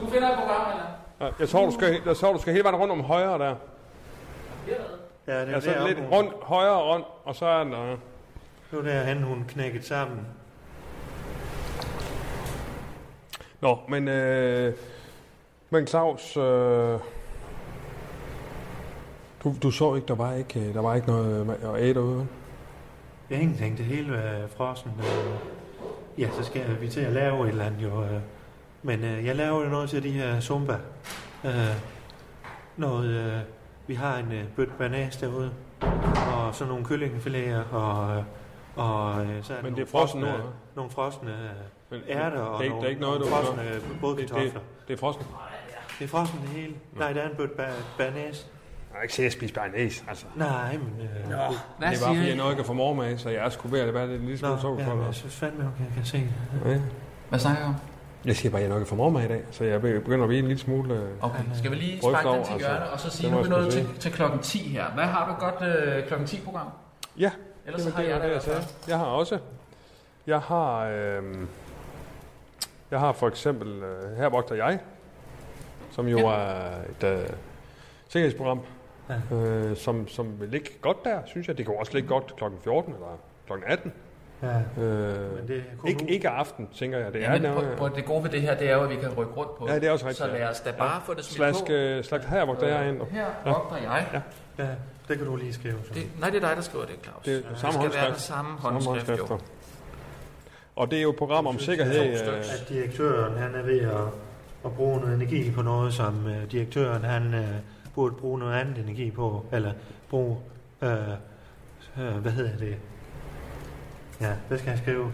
Du finder et program, eller?
Ja, Jeg tror, du skal, jeg tror, du skal hele vejen rundt om højre der.
ja, det er
Altså,
deroppe,
lidt
hun-
rundt, højre rundt, og så er den der.
Det var derhen, hun knækkede sammen.
Nå, men, øh, men Claus, øh, du, du så ikke, der var ikke, øh, der var ikke noget øh, at æde derude. vel?
Jeg ingenting, det hele var frossen. Øh, Ja, så skal vi til at lave et eller andet jo. øh. Men øh, jeg laver jo noget til de her zumba. Øh, noget, øh, vi har en øh, bødt banas derude, og så nogle kyllingefiléer, og, øh, og øh, så
Men
er der
det
nogle
er frossen nu,
frosne-
eller?
nogle frosne øh,
Men,
ærter,
det er
og
ikke,
nogle,
der er ikke noget, du...
nogle frosne øh,
det,
bådkartofler.
det, det er frossen.
Det er frossen det hele. Nej, der er en bødt ba- banas.
Jeg har ikke set at spise bernæs, altså.
Nej, men... Øh,
det
Hvad
Nå,
er bare,
siger
fordi jeg
I?
nok ikke får mor med, så jeg er sgu ved at være lidt ligesom en lille smule sukker
ja,
for
men
dig.
jeg synes fandme, okay, jeg kan se det.
Ja.
Hvad snakker I om?
Jeg siger bare, at jeg nok ikke får mor med i dag, så jeg begynder at blive en lille smule... Øh,
Okay, skal vi lige
Ryk
sparke den
over,
til
altså.
hjørne, og så sige,
Det
nu
må
er vi
jeg
nået
sgu
til, til klokken 10 her. Hvad har du et godt øh, klokken 10-program?
Ja,
Ellers
Jamen,
har
det
jeg
var
da
det,
i
jeg
hvert
sagde.
fald.
Jeg har også. Jeg har... Øh, jeg har for eksempel øh, Her vogter jeg, som jo
Ja.
ja. er et øh, sikkerhedsprogram, ja. øh, som, som vil ligge godt der, synes jeg. Det kan jo også ligge godt kl. 14 eller kl. 18.
Ja,
Øh,
men det er kun
ikke,
nu.
ikke aften, tænker jeg. Det
Ja,
er
men
nærmere-
på, på, det gode ved det her, det er jo, at vi kan rykke rundt på
Ja, det er også rigtigt,
Så lad
ja.
os da bare få det smidt
Slask,
på.
øh, slask her, hvor der er en.
Her vogter jeg.
Ja, det kan du lige skrive. Så.
Det, nej, det er dig, der skriver det, Claus.
Det er
det
samme
skal være den
håndskrift.
samme
Samme
håndskrift, jo.
håndskrifter. Og det er jo et program om sikkerhed. Øh,
at direktøren han er ved at, at bruge noget energi på noget, som øh, direktøren han øh, burde bruge noget andet energi på, eller bruge, øh, øh, hvad hedder det? Ja, hvad skal jeg skrive?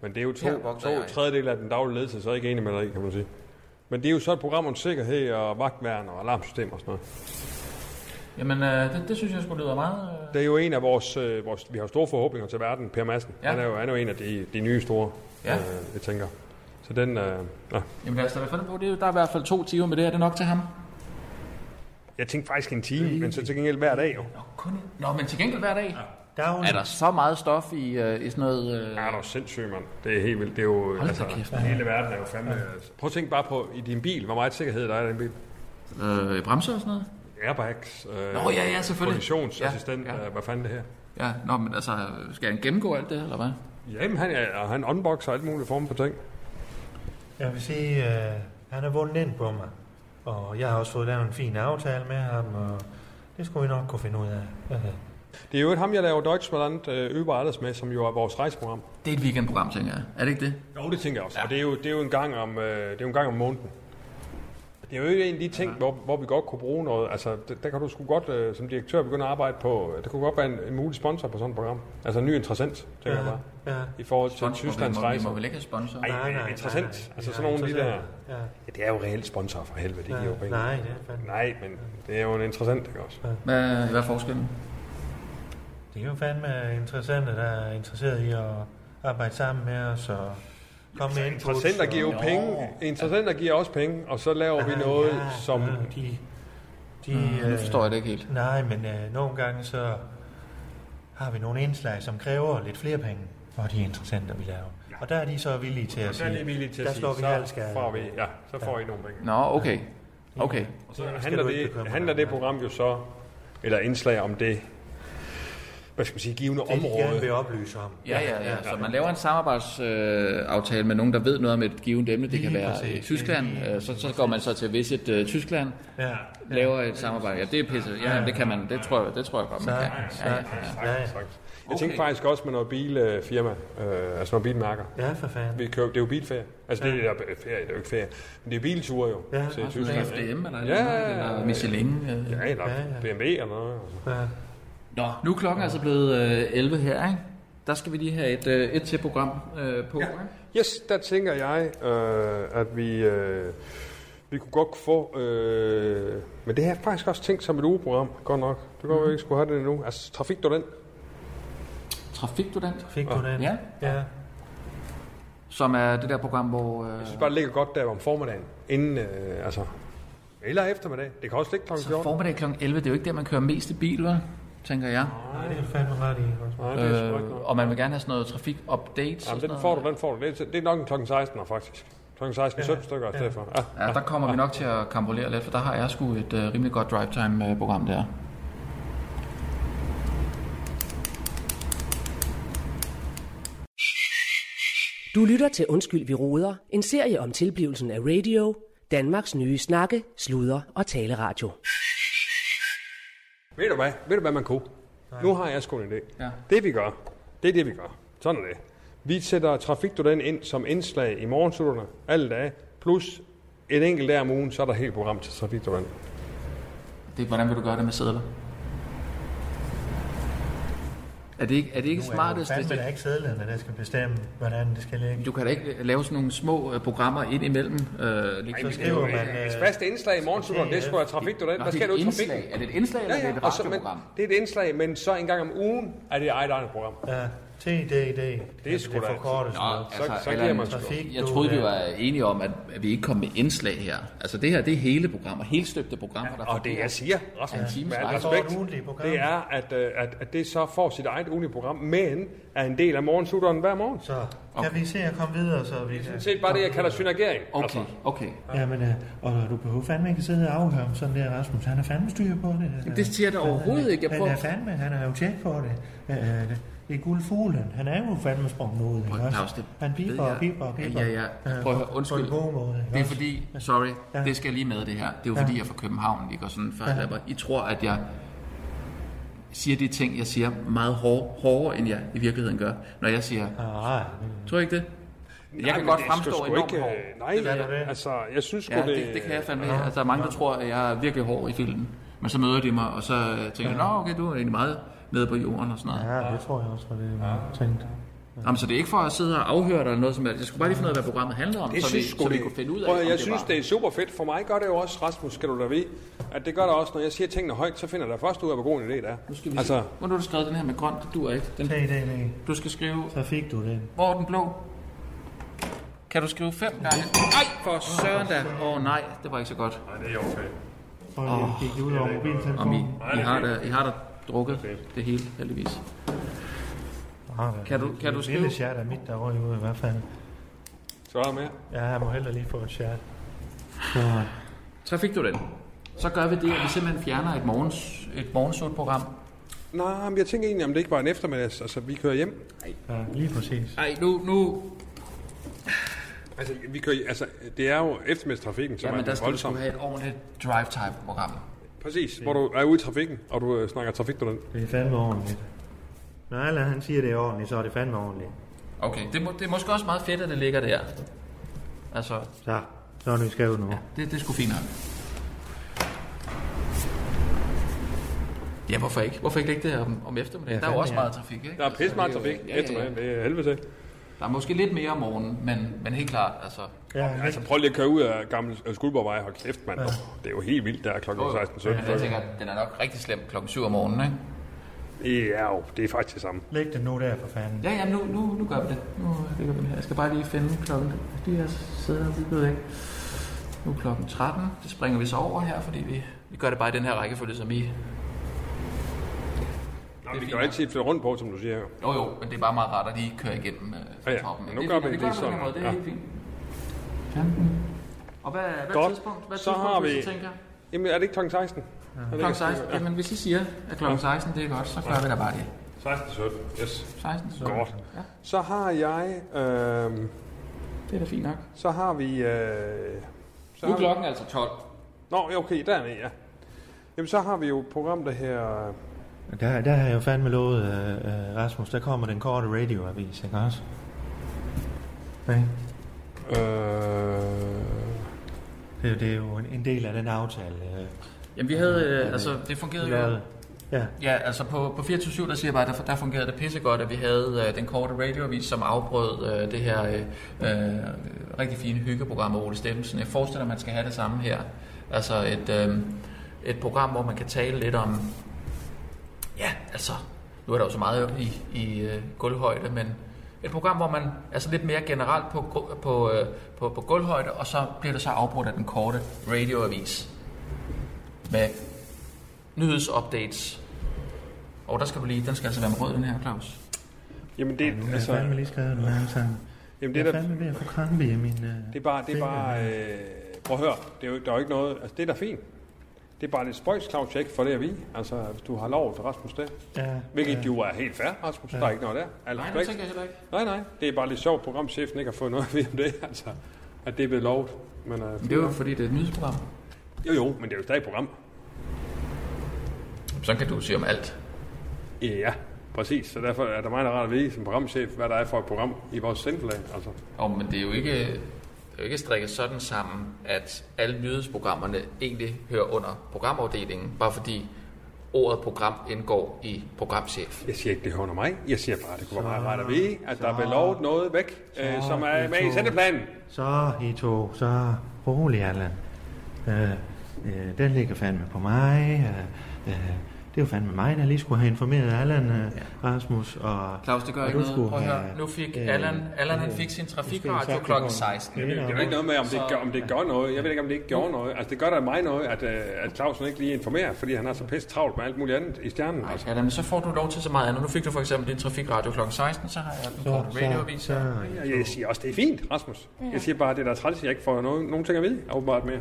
men det er jo
Her
to,
vogter
to
jeg.
tredjedel af den daglige ledelse, så er ikke enig med dig, i, kan man sige. Men det er jo så et program om sikkerhed og vagtværn og alarmsystem og sådan noget.
Jamen, øh, det, det synes jeg skulle lyder meget... Øh.
Det er jo en af vores, øh, vores vi har jo store forhåbninger til verden, Per Madsen.
Ja.
Ja. Han, er jo, han er jo en af de, de nye store,
Ja.
ja. øh, jeg tænker. Så den, øh, ja.
Jamen, lad os da finde på det. er jo- Der er i hvert fald to timer med det her. Det er nok til ham.
jeg tænkte faktisk en time, men så til gengæld hver dag jo.
Nå, kun... Nå men til gengæld hver dag.
Down.
Er der så meget stof i, øh, i sådan noget... Øh...
Ja, det er jo sindssygt, mand. Det er helt vildt. Det er jo, altså,
Hold da kæft, mand.
hele verden er jo fandme... Altså. Prøv at tænke bare på i din bil, hvor meget sikkerhed der er i den bil.
Øh, bremser og sådan noget?
Airbags, øh,
Nå, ja, ja, selvfølgelig.
kollisionsassistent,
Ja,
ja,
ja.
ja. Øh, hvad fanden det her?
Ja, nå, men altså, skal han gennemgå alt det her, eller hvad?
Jamen, han, er, og han unboxer alt muligt form for ting.
Jeg vil sige, øh, han har vundet ind på mig, og jeg har også fået lavet en fin aftale med ham, og det skulle vi nok kunne finde ud af. Øh,
Det er jo et ham, jeg laver Deutschland øh, Über alles med, som jo er vores rejseprogram.
Det er et weekendprogram, tænker jeg. Er det ikke det?
Jo, det tænker jeg også. Ja. Og det er, jo, det er jo en gang om, øh, det er jo en gang om måneden. Det er jo en af de ting, hvor, hvor vi godt kunne bruge noget. Altså, der, der kan du sgu godt øh, som direktør begynde at arbejde på... øh, Der kunne godt være en, en mulig sponsor på sådan et program. Altså en ny interessant, tænker jeg bare.
ja.
I forhold til
Sponsor,
Tysklands
vi, må, vi må
rejse.
vel ikke have sponsor?
Ej, interessant. Altså, sådan nogle af de der-
interessant. Ja.
Ja, det er jo reelt sponsor for helvede, det giver jo penge.
Nej, det er fandme.
Nej, men det er jo en interessant, ikke også?
Hvad, hvad er forskellen?
Det er jo fandme interessante, der er interesseret i at arbejde sammen med os og komme med input.
Interessant at give
og-
penge. Interessant at give os penge, og så laver vi
Ah,
noget,
ja,
som...
ja, De, de,
Øh, Nu forstår jeg det ikke helt.
Nej, men øh, nogle gange så har vi nogle indslag, som kræver lidt flere penge for de interessenter, vi laver. Og der er de så villige til at
Så er
sige,
det villige til at
der
sige,
slår vi
så
halvskade.
får vi, ja, så får I nogle penge.
Nå, okay. Okay.
Og så
skal
handler
du ikke
det,
bekymre dig
handler
om,
det
ja.
program jo så, eller indslag om det, hvad skal man sige, givende
det de gerne vil
område.
oplyse om.
Ja, ja, ja. Så man laver en samarbejdsaftale øh, aftale med nogen, der ved noget om et givet emne. Det kan
Lige
være
præcis.
i Tyskland.
Lige
Øh, så, så går man så til Visit øh, Tyskland,
Ja.
laver et samarbejde. Ja, det er pisse. Ja, det kan man. Det tror jeg, det tror jeg godt, man kan. Ja, ja, ja.
Ja, ja.
Jeg tænkte faktisk også med noget bilfirma, øh, altså nogle bilmærker.
ja for fanden.
Vi kører, det er jo bilferie. Altså det er der ferie, det er jo ikke ferie. Men det er bilture jo
Ja.
til
Sådan noget
Tyskland. ikke?
FDM eller,
Ja,
noget, eller Michelin. Øh.
Ja, eller
Ja, ja.
BMW eller noget. altså.
Ja.
Nå, nu er klokken altså blevet øh, 11 her, ikke? Der skal vi lige have et, øh, et til program øh, på. Ja.
Yes, der tænker jeg, øh, at vi, øh, vi kunne godt kunne få... Øh, men det har jeg faktisk også tænkt som et ugeprogram, godt nok. Det går mm. vi ikke skulle have det endnu. Altså, trafik du den?
Trafikstudent.
Fik du den?
Ja,
ja.
som er det der program, hvor... Øh,
Jeg synes bare, det ligger godt der om formiddagen. Inden, øh, altså, eller eftermiddag. Det kan også ligge kl.
så
14.
formiddag kl. 11, det er jo ikke der, man kører mest i bil, hva'? tænker jeg.
Nej, det er du fandme ret i. Rasmus.
Nej, det er sgu ikke
Øh,
noget.
og man vil gerne have sådan noget trafik-updates. og
Jamen,
sådan
den
noget.
får du, den får du. Det er, det er nok en klokken 16 faktisk. Klokken 16 17 stykker i stedet for. Ja.
Ja, der kommer vi nok til at kampolere lidt, for der har jeg sgu et øh, rimelig godt drive time øh, program der.
Du lytter til Undskyld, vi råder. En serie om tilblivelsen af radio. Danmarks nye snakke, sludre og taleradio.
Ved du hvad? Ved du hvad man kunne? Nu har jeg sgu en idé.
Ja.
Det vi gør, det er det vi gør. Sådan er det. Vi sætter trafikduellen ind som indslag i morgensutterne alle dage, plus en enkelt dag om ugen, så er der helt program til trafikduellen.
Det, hvordan vil du gøre det med sædler? Er det ikke, er det ikke smartest?
Nu er det ikke sædlerne, der skal bestemme, hvordan det skal ligge.
Du kan da ikke lave sådan nogle små øh, programmer ind imellem. Øh, lige
men
så-
det er jo- man, øh,
Hvis faste indslag i morgensutterne, det skulle være trafikduellen.
Nå,
Hvad
det
skal
er
du
et
i trafikken?
indslag. Er det et indslag, eller er det et
og så- men,
radioprogram?
det er et indslag, men så en gang om ugen er det eget eget program.
Ja, TDD.
Det er sgu da
Altså, Det
altid.
forkortes noget.
Så- Ah, så giver
Altså, eller-
man sgu.
Trafik,
Jeg
du,
troede, vi
øh,
var enige om, at at vi ikke kom med indslag her. Altså det her, det er hele programmer, helstøbte programmer, der
Og det jeg siger, Rasmus,
Ja, en times
med al
vej.
Så er det
respekt,
ugentlige program.
det er, at, øh, at, at det så får sit eget ugenlige program, men er en del af morgensutteren hver morgen.
Så kan vi se at komme videre, så vi kan...
Det er bare det, jeg kalder synergering. Altså,
Okay, okay.
Jamen, øh, og du behøver fandme ikke sidde og afhøre om sådan der, Rasmus. Han er fandme styr på det. Han er-
Det siger jeg da
han er-
overhovedet ikke. Jeg
han
prøver-
er fandme, han er jo tjek på det. Øh, øh, det- Det er guldfuglen. Han er jo fandme sprunget ud, ikke
Prøv, Claus,
også?
det
Han piper
ved jeg.
og piper og
Ja,
piper.
ja, ja.
Øh,
Prøv at høre,
på-
undskyld.
På en god måde, ikke
Det er
også?
fordi, sorry,
Ja.
det skal jeg lige med det her. Det er jo
Ja.
fordi, jeg er fra København, ikke? Og sådan før ja. I tror, at jeg siger de ting, jeg siger meget hår, hårdere, end jeg i virkeligheden gør, når jeg siger,
Ah, Nej,
tror I ikke det? jeg kan
men
godt
det er sgu
fremstå
sgu
enormt
ikke,
hård.
øh, Nej, det
er det.
altså, jeg synes sgu,
Ja, det, det kan jeg fandme.
Ah.
Altså, der er mange, der tror, at jeg er virkelig hård i filmen. Men så møder de mig, og så øh, tænker jeg, nå okay, du er egentlig meget nede på jorden og sådan noget.
ja, det tror jeg også var det, man tænkte.
Jamen, så det er ikke for at sidde og afhøre dig eller noget som helst. Jeg skulle bare lige finde ud af, hvad programmet handler om,
Det
så,
synes
vi,
sgu,
så vi
det-
kunne finde ud af,
Prøv, at-
om
jeg
det
synes,
var...
det er super fedt. For mig gør det jo også, Rasmus, skal du da vide, at det gør det også, når jeg siger tingene højt, så finder jeg da først ud af, hvor god en idé det er.
Nu skal vi altså...
altså,
se. Hvornår har du skrevet den her med grøn? Det duer ikke. Den,
TDD.
du skal skrive...
Så fik du den.
Hvor er den blå? Kan du skrive fem gange? Nej, for søren da. Åh oh, nej, det var ikke så godt.
Og det gik det ud over
Om I,
mobiltelefonen.
I, har, da, I har da drukket det hele, heldigvis.
Ah, hvad
Kan du-
er det?
kan du
Det
skrive-
Lille chat er mit, der røg ud i hvert fald.
så er der mere.
Ja, jeg må hellere lige få et chat.
Trafik du den? Så gør vi det, at vi simpelthen fjerner et, morgens, et morgensudprogram.
Nej, men jeg tænker egentlig, om det ikke var en eftermiddags. Altså, vi kører hjem.
Ja, lige præcis.
Ej, nu, nu,
Altså, vi kører, altså det er jo eftermiddagstrafikken, som
ja,
ja, er
men der
den
skal du sgu
voldsomme.
have et ordentligt drive-time-program.
Præcis, hvor du er ude i trafikken, og du øh, snakker trafik den.
Det er fandme ordentligt. Når alle han siger, det er ordentligt, så er det fandme ordentligt.
Okay, det, må, det er måske også meget fedt, at det ligger der. Altså,
Så, så er det, vi skal ud nu.
det, det er sgu fint nok. Ja, hvorfor ikke? Hvorfor ikke lægge det her om, om eftermiddagen?
Ja,
Ja, der er jo
fandme,
også
ja.
meget trafik, ikke?
Der er pisse meget trafik
ja, ja.
eftermiddagen, det er helvede til.
Der er måske lidt mere om morgenen, men, men helt klart, altså...
Ja,
Altså prøv lige at køre ud af gamle øh, Skuldborgvej, hold kæft mand. Åh, Det er jo helt vildt, der er klokken
Jo, jo.
16.17.
Jeg tænker, at den er nok rigtig slem klokken 7 om morgenen, ikke?
Ja, jo, det er faktisk det samme.
læg det nu der for fanden.
Ja, ja, nu, nu, nu gør vi det. Nu lægger vi den her. Jeg skal bare lige finde klokken. De her sidder her, vi ved ikke. Nu er klokken 13. Det springer vi så over her, fordi vi, vi gør det bare i den her rækkefølge, som I...
Nå,
er
vi
fint
kan jo
nok.
altid flytte rundt på, som du siger. jo.
Jo jo, men det er bare meget rart at lige køre igennem øh, fra
Ja, ja.
toppen.
Men
ikke?
nu gør vi
vi
det
gør på
sådan.
den her måde. Det er
Ja.
helt fint. 15. Og hvad, hvad
Godt.
tidspunkt? Hvad
Så
tidspunkt,
har
hvis
vi-
I tænker?
Jamen er det ikke klokken 16?
Klokken 16. Jamen, hvis I siger, at klokken 16 det er godt, så gør vi da bare det.
16.17, yes.
16, så
Godt.
Ja.
Så har jeg, øh,
det er da fint nok.
så har vi, øh, så
Nu
har
er
vi,
klokken altså 12.
Nå, ja, okay, dernede, ja. Jamen så har vi jo et program, der her,
Der, der har jeg jo fandme lovet, øh, øh, Rasmus, der kommer den korte radioavis, ikke også? Okay.
øh,
Det, er jo- det er jo en, en del af den aftale, øh,
Jamen, vi havde... Øh, altså, det
vi
fungerede jo
lavede. Ja,
Ja, altså på, på 24-7, der siger jeg bare, der, der fungerede det pissegodt, at vi havde øh, den korte radioavis, som afbrød øh, det her øh, øh, rigtig fine hyggeprogram af Ole Steffensen. Jeg forestiller mig, at man skal have det samme her. Altså et, øh, et program, hvor man kan tale lidt om... Ja, altså, nu er der jo så meget i, i øh, gulvhøjde, men et program, hvor man altså lidt mere generelt på, gru- på, øh, på, på gulvhøjde, og så bliver det så afbrudt af den korte radioavis med nyhedsupdates og der skal du lige, den skal altså være med rød, den her, Claus.
jamen det,
nu har jeg
altså,
fandme lige skrevet den her sang.
jamen
Jeg
det
er
er der,
fandme ved at få krampe i min... Øh,
Det er bare, det er
fingre
bare
her.
øh, prøv at høre, det er jo, der er jo ikke noget, altså det er da fint. Det er bare lidt spøjs, Claus, jeg ikke får det at vide, altså hvis du har lov til Rasmus det.
Ja, Øh,
Hvilket jo er helt fair, Rasmus, der er ikke noget der. Al
Nej, det
respekt.
tænker jeg heller ikke.
nej, nej, det er bare lidt sjovt, programchefen ikke har fået noget at vide om det, altså at det er blevet lovet. Men, øh,
Det er jo fordi, det er et nyhedsprogram.
jo, jo, men det er jo stadig et program.
Så kan du sige om alt.
Ja, Præcis, så derfor er der meget rart at vide som programchef, hvad der er for et program i vores sendeplan. Altså,
Og, men det er jo ikke, det er jo ikke strikket sådan sammen, at alle nyhedsprogrammerne egentlig hører under programafdelingen, bare fordi ordet program indgår i programchef.
jeg siger ikke, det hører under mig. Jeg siger bare, det kunne være meget rart at vide, at der bliver lovet noget væk, øh, som er med i sendeplanen.
Så, I to, så rolig, Allan. Øh, øh, den ligger fandme på mig. Øh, øh, det er jo fandme mig, der lige skulle have informeret Allan, øh, Rasmus. Og,
Claus, det gør
og
ikke
du
noget.
skulle
Prøv at høre,
have,
nu fik
øh,
Allan, Allan han
øh,
fik sin
du skal
trafikradio kl.
have sagt,
16.
det er
Det er jo ikke noget med, om det, gør, om det gør noget. Jeg ved ikke, om det ikke gjorde noget. Altså, det gør da mig noget, at, øh, at Clausen ikke lige informerer, fordi han har så pisse travlt med alt muligt andet i stjernen.
Nej,
Altså,
Allan, men så får du lov til så meget andet. Nu fik du for eksempel din trafikradio kl. 16, så har jeg den
Så,
korte
så,
radioavis.
så,
jeg, jeg siger også, det er fint, Rasmus. Jeg siger bare, at det der er da træls, at jeg ikke får nogen, nogen ting at vide, åbenbart mere.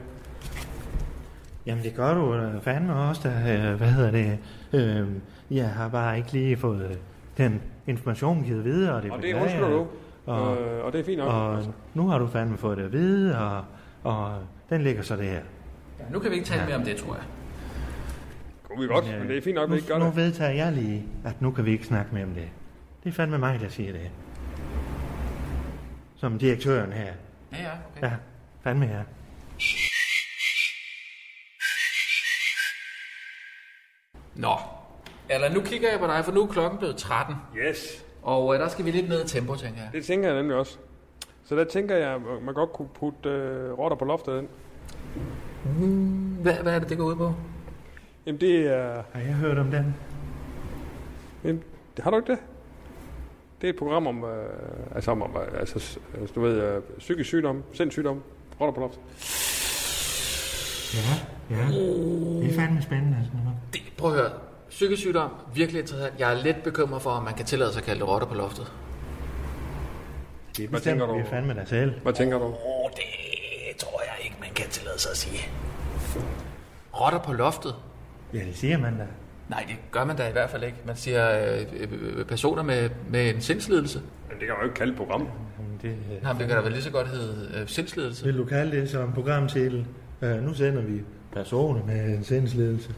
Jamen det gør du øh, fandme også, der, øh, hvad hedder det, øh, jeg har bare ikke lige fået øh, den information givet videre. Og det,
Og det
beklager
undskylder
jeg.
du.
Og,
Øh, og det er fint nok.
og
altså.
nu har du fandme fået det at vide, og, og den ligger så der.
Nu kan vi ikke tale mere om det, tror jeg.
Kunne vi godt,
øh,
men det er fint nok, at
nu,
vi ikke gør
nu
det.
vedtager jeg lige, at nu kan vi ikke snakke mere om det. Det er fandme mig, der siger det. Som direktøren her.
Ja, ja, okay.
Ja, fandme her.
Nå, Allan, nu kigger jeg på dig, for nu er klokken blevet 13.
Yes,
Og øh, der skal vi lidt ned i tempo, tænker jeg.
det tænker jeg nemlig også. Så der tænker jeg, at man godt kunne putte øh, rotter på loftet ind.
Hvad, hvad er det, det går ud på?
Jamen det er...
Har jeg hørt om den?
Jamen, det- har du ikke det? Det er et program om, øh, altså, om, om øh, altså, s- altså, du ved, øh, psykisk sygdom, sindssygdom, rotter på loftet.
Ja, ja. Det er fandme spændende. Sådan noget.
Det, prøv at høre. Psykisk sygdom, virkelig interessant. Jeg er lidt bekymret for, om man kan tillade sig at kalde det rotter på loftet.
Det er
Hvad tænker
bestemt,
du?
vi er fandme dig selv.
Hvad tænker du?
Åh, oh, det tror jeg ikke, man kan tillade sig at sige. Rotter på loftet?
Ja, det siger man da.
Nej, det gør man da i hvert fald ikke. Man siger øh, øh, øh, personer med, med en sindslidelse.
Jamen, det kan man jo ikke kalde et program.
Jamen, Det, øh,
Nej, men det kan da vel lige så godt hedde øh, sindslidelse.
vil du kalde det som programtitel? Øh, nu sender vi personer med en sindsledelse.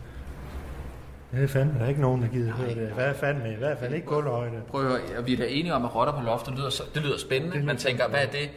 Ja, det er fandme der er ikke nogen, der gider høre det. Hvad er fandme? I hvert fald ikke kulhøjde.
Prøv at høre, vi er da enige om, at rotter på loftet lyder, så- det lyder spændende. man tænker, hvad er det?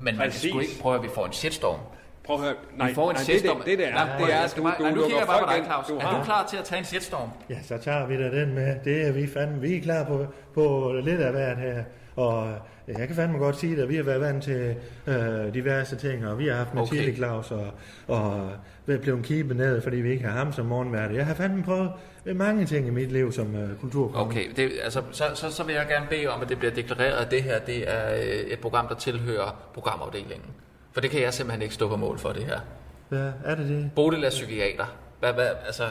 Men man kan
Præcis.
sgu ikke prøve, at vi får en shitstorm.
Prøv at høre. Nej,
Vi får en
nej det,
shitstorm.
det, det, der
Nej,
er,
prøv
det
at høre,
er,
jeg
at
skal
du,
bare-
du
Nej, nu kigger
lukker
jeg bare på
folk
dig,
ind.
Claus.
Du
Er du
har,
klar til at tage en shitstorm?
Ja, så tager vi da den med. Det er vi fandme. Vi er klar på, på lidt af hvert her. Og øh, jeg kan fandme godt sige det, at vi har været vant til øh, diverse ting, og vi har haft Mathilde
Okay.
Claus, og, og vi blev kibet ned, fordi vi ikke har ham som morgenvært. Jeg har fandme prøvet øh, mange ting i mit liv som øh, kulturkonge.
Okay, det, altså, så, så, så vil jeg gerne bede om, at det bliver deklareret, at det her det er øh, et program, der tilhører programafdelingen. For det kan jeg simpelthen ikke stå på mål for, det her.
Hvad er det det?
Bodil er psykiater. Hvad, hvad, altså,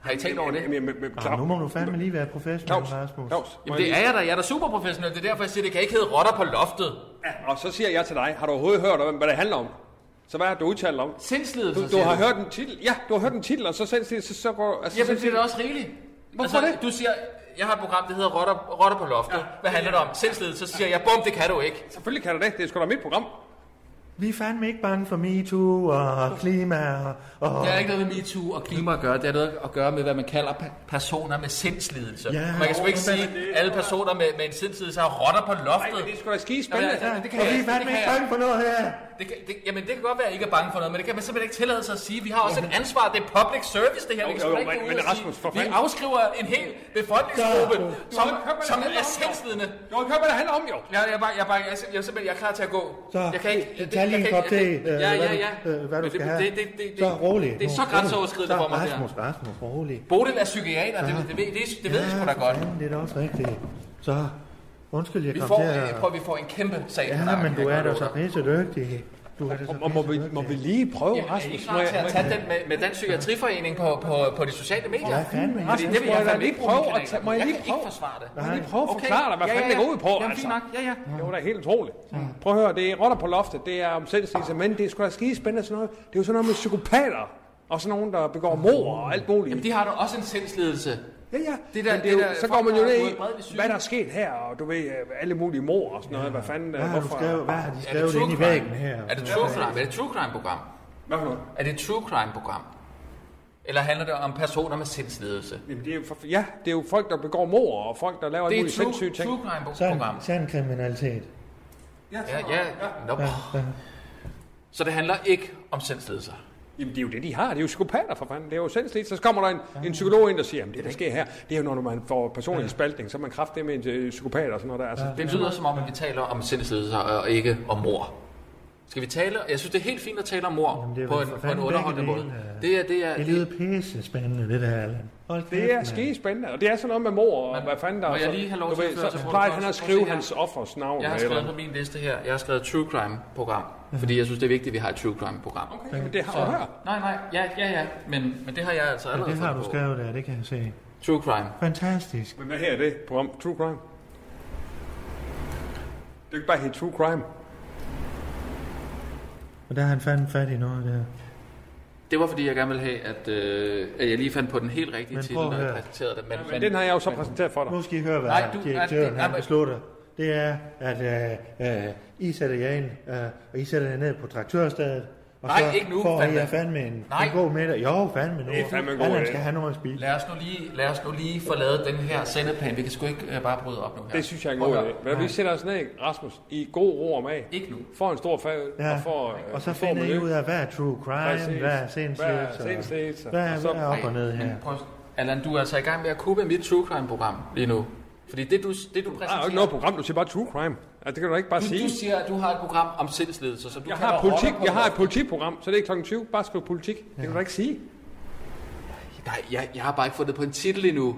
har I tænkt over det?
Jamen, jamen, jamen,
Arh,
Claus,
nu må du fandme lige være professionel,
Claus,
Rasmus.
Claus, må
Jamen, det
jeg
er jeg da. Jeg er da super professionel. Det er derfor, jeg siger, det kan ikke hedde rotter på loftet.
lige- Og så siger jeg til dig, har du overhovedet hørt om, hvad det handler om? Så hvad har du udtalt om?
Sindslidelse,
Du, du
siger
har hørt en titel, ja, du har hørt en titel, og så selv siger, så, så går... Altså,
Jamen,
så,
det er da også rigeligt.
Hvorfor det?
Altså, Du siger, jeg har et program, der hedder Rotter, rotter på loftet. Ja. Hvad handler det om? Sindslidelse. Så siger jeg, bum, det kan du ikke.
Selvfølgelig kan du det, det er sgu da mit program.
Vi er fandme ikke bange for MeToo og klima og... og
Det har ikke noget med MeToo og klima at gøre. Det har noget at gøre med, hvad man kalder pe- personer med sindslidelse.
Ja.
man kan sgu ikke sige, at alle personer med, med en sindslidelse har rotter på
Nej, men det er
loftet.
sgu da skide spændende.
Nå, ja, ja. det kan
og
jeg
vi er
ikke,
fandme
det kan
ikke
jeg
bange for noget her.
Det, kan- det, jamen, det kan godt være, at I ikke er bange for noget, men det kan man simpelthen ikke tillade sig at sige. Vi har også et ansvar. Det er public service, det her.
Jo,
vi kan
jo,
sgu da
jo,
ikke
men-
gå ud
men
og sige,
Rasmus, for
Vi
fanden.
afskriver en hel befolkningsgruppe,
Ja.
som,
Jo, men hør, hvad
som
det handler
er
om, jo.
sindslidende.
Du har ikke hørt, hvad det handler om, jo.
Jeg, jeg, jeg, jeg, jeg, jeg, jeg, er simpelthen, jeg er klar til at gå.
Så,
jeg kan ikke,
øh, tag lige en
jeg kan
kop
ikke- jeg
te,
kan-
øh,
Ja,
hvad
ja,
du-
ja.
øh, hvad du
Men
skal
det,
have.
Det, det, det,
Så rolig.
Det er så
Nu,
grænseoverskridende
så,
for mig, det her.
Rasmus, Rasmus, rolig.
Bodil er psykiater, det, det, ved, det, det ved jeg sgu da
for
godt.
fanden, Det er da også rigtigt. Så, undskyld, jeg
Vi
kom
får,
til
øh,
at...
prøv, vi får en kæmpe sag. på
Ja,
nakken,
men
jeg
du er
kan
da
godt
så
love dig.
pisse dygtig. Du er da så
Og må vi,
pisse
må vi
dygtig.
lige prøve,
Jamen, er I
Rasmus?
ikke
må
klar
jeg-
til at tage den med, med den psykiatriforening på, på, på de sociale medier?
Ja, fandme.
Fordi det vil
Må
jeg
jeg
fandme
lige
ikke bruge
prøve
min
at
kanal
tage-
på.
må jeg
Jeg
lige
kan ikke
prøve-
forsvare det.
Må jeg lige prøve at forklare dig, hvad fanden det går ud på?
Jamen, fint
altså?
nok. Ja, ja.
Det var da helt utroligt. Prøv at høre, det er rotter på loftet, det er om selvstændighed, men det er sgu da skide spændende sådan noget. Det er jo sådan noget med psykopater, og sådan nogen, der begår mor og alt muligt.
Jamen, de har da også en sindslidelse.
Ja, ja.
Det der-
men det er
det
jo,
der-
så
folk,
går man jo
der
ned
har fået bredvid
i,
syge.
hvad der er sket her, og du ved, øh, alle mulige mor og sådan noget. Hvad fanden, øh,
Hvad har, du
hvorfor?
skrevet, hvad har de
Er det
skrevet
true
ind i
crime?
væggen her?
Er det true crime? Er det true crime program?
Hvad for noget?
Er det et true crime program? Eller handler det om personer med sindsledelse?
Jamen, det er jo for, ja, det er jo folk, der begår mor, og folk, der laver
Det
alle
er
mulige
et true,
sindssyge ting.
true crime program.
Sådan, sådan kriminalitet.
Ja, ja, no.
Ja, ja.
Så det handler ikke om sindsledelser.
Jamen, det er jo det, de har. Det er jo psykopater, for fanden. Det er jo sindssygt. Så kommer der en, en psykolog ind, der siger, jamen, det, der sker her, det er jo, når man får personlig spaltning, så er man kraftig med en øh, psykopat og sådan noget der. Altså,
Det lyder som om, at vi taler om sindsledelser og ikke om mor. Skal vi tale? Jeg synes, det er helt fint at tale om mor
Jamen, det er
på
vel
en,
for
på en
fanden
underholdende måde.
begge dele, øh.
Det er, det er,
Det lyder pisse spændende, det der, Allan. Hold
Det er
mand.
skide spændende, og det er sådan noget med mor, og
Men-
hvad fanden der
må
er
jeg
så-
lige have lov
du
til at
ved,
føre
så
til
plejer
protokollen?
han at
Prøv at
skrive
se her.
hans offers navn.
jeg har
eller-
skrevet på min liste her, jeg har skrevet true crime program, fordi jeg synes, det er vigtigt, at vi har et true crime program.
Okay, men det har du her.
Nej, nej, ja, ja, ja, men, men det har jeg altså
Ja,
allerede
det har
fundet
du
på.
skrevet der, det kan jeg se.
True crime.
Fantastisk.
Men hvad her er det? Program True Crime? Det er ikke bare helt True Crime.
Og der har han fandme fat i noget der.
Det var fordi, jeg gerne ville have, at, øh, at jeg lige fandt på den helt rigtige
Men
titel,
prøv at
når jeg
høre.
præsenterede det. Men,
Men den har jeg jo så præsenteret for dig.
Nu skal I høre, hvad
Nej, du- nej,
direktøren
det-
han
nej,
beslutter. Det er, at øh, øh, I sætter jer ind, øh, og I sætter jer ned på traktørstedet. Og
Nej,
så
ikke nu,
får
fandme.
I jer fandme en,
Nej.
en god middag. Jo, fandme nu.
Det er fandme en god
Allan
idé.
skal have noget at spise.
Lad os, nu lige, lad os nu lige få lavet den her sendeplan. Vi kan sgu ikke øh, bare bryde op nu her.
Det synes jeg er en god
Prøv at
idé. Men vi sætter os ned, Rasmus, i god ro om af.
Ikke nu.
Får en stor fag,
Ja.
og får... øh,
og så
får
finder I
miljø.
ud af, hvad er true crime,
Præcis.
hvad er
Hvad er
sindslægelser,
sindslægelser?
hvad, er-
Og så-
hvad er op og ned her.
Men prøv, Allan, du er altså i gang med at kubbe mit true crime program lige nu. Fordi det, du, det, du
Ah, Der er jo
præsenterer...
ikke noget program, du siger bare True Crime. Altså, det kan du da ikke bare
du, du
sige.
siger, at du har et program om sindsledelse, som du
Jeg
kalder
har, politik,
rocker på
jeg har et
loftet.
politiprogram, så det er kl. 20. Bare skriv politik. Det kan du da ikke sige.
Nej, jeg, jeg har bare ikke fundet på en titel endnu.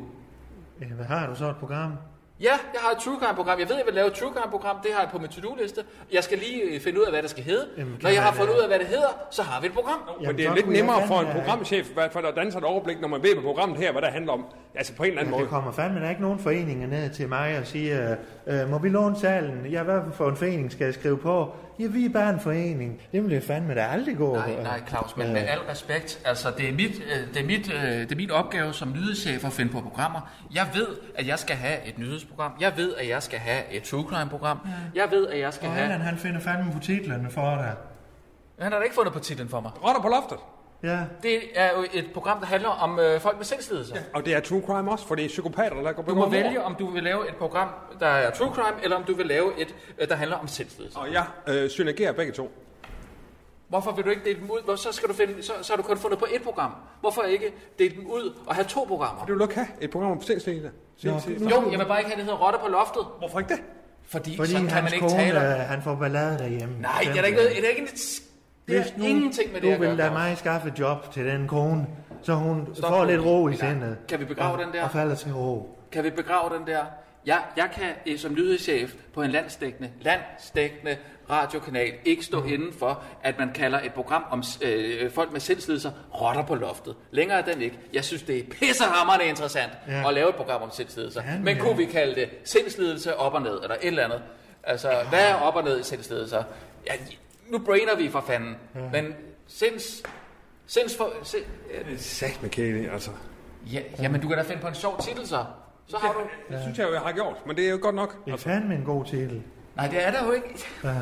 Ja, Øh, Hvad har du så et program?
Ja, jeg har et true crime program. Jeg ved, jeg vil lave et true crime program. Det har jeg på min to-do-liste. Jeg skal lige øh, finde ud af, hvad det skal hedde.
Jamen,
Jamen,
kan
Når jeg har
man,
fundet
øh,
ud af, hvad det hedder, så har vi et program.
Men det er
så
lidt
kunne jeg
nemmere for en
fandme da ikke-
programchef, i hvert fald, at danse et overblik, når man ved på programmet her, hvad det handler om. Altså på en eller anden
Ja,
måde.
der kommer fandme der er ikke nogen foreninger ned til mig og siger, øh, øh, må vi låne salen? Jeg er hvad for en forening, skal jeg skrive på? Ja, vi er bare en forening. Det vil det fandme da aldrig øh. gå.
Nej, nej, Claus, men med al respekt, altså det er, mit, øh, det, er mit, øh, det er min opgave som nyhedschef at finde på programmer. Jeg ved, at jeg skal have et nyhedsprogram. Jeg ved, at jeg skal have et true crime program. Jeg ved, at jeg skal
Og
have...
Allan, han finder fandme på titlerne for dig.
Han har da ikke fundet på titlen for mig.
Rotter på loftet.
Ja,
Det er jo et program, der handler om øh, folk med sindslidelser.
Og det er True Crime også, for det er psykopater, der går på
Du må vælge, om du vil lave et program, der er true crime, eller om du vil lave et, øh, der handler om sindslidelser.
Og jeg øh, synergerer begge to.
Hvorfor vil du ikke dele dem ud? Hvor, så, skal du finde, så, så har du kun fundet på et program. Hvorfor ikke dele dem ud og have to programmer?
Det vil du ikke have. Et program om sindslægende.
Nå.
Jo, jeg vil bare ikke have, det hedder Rotter på loftet.
Hvorfor ikke det?
Fordi,
fordi
sådan kan man
hans
ikke
kone,
tale om.
øh, han får ballade derhjemme.
Nej, det er da ikke, noget, det er ikke en, det
Hvis
er
nu
ingenting med det at
Du vil
gøre.
lade
Claus.
mig skaffe et job til den kone, så hun
Stop
får
nu.
lidt ro i
Nej,
sindet.
kan vi begrave
og,
den der?
Og falder til ro.
Kan vi begrave den der? Jeg, jeg kan eh, som nyhedschef på en landstækkende, landstækkende radiokanal ikke stå mm. inden for, at man kalder et program om øh, folk med sindslidelser rotter på loftet. Længere er den ikke. Jeg synes, det er pissehammerende interessant
Ja.
ja. at lave et program om sindslidelser.
Ja,
Ja, Men
ja.
kunne vi kalde det sindslidelse op og ned, eller et eller andet? Altså, ja. hvad er op og ned i sindslidelser? Ja, nu brainer vi for fanden. Ja. Men sinds... sinds for, sind, øh,
Sagt med Kæle, altså.
ja, jamen, du kan da finde på en sjov titel, så. Så har du...
Det synes jeg jo, jeg har gjort, men det er jo godt nok.
Det er fandme en god titel.
Nej, det er der jo ikke.
Ja.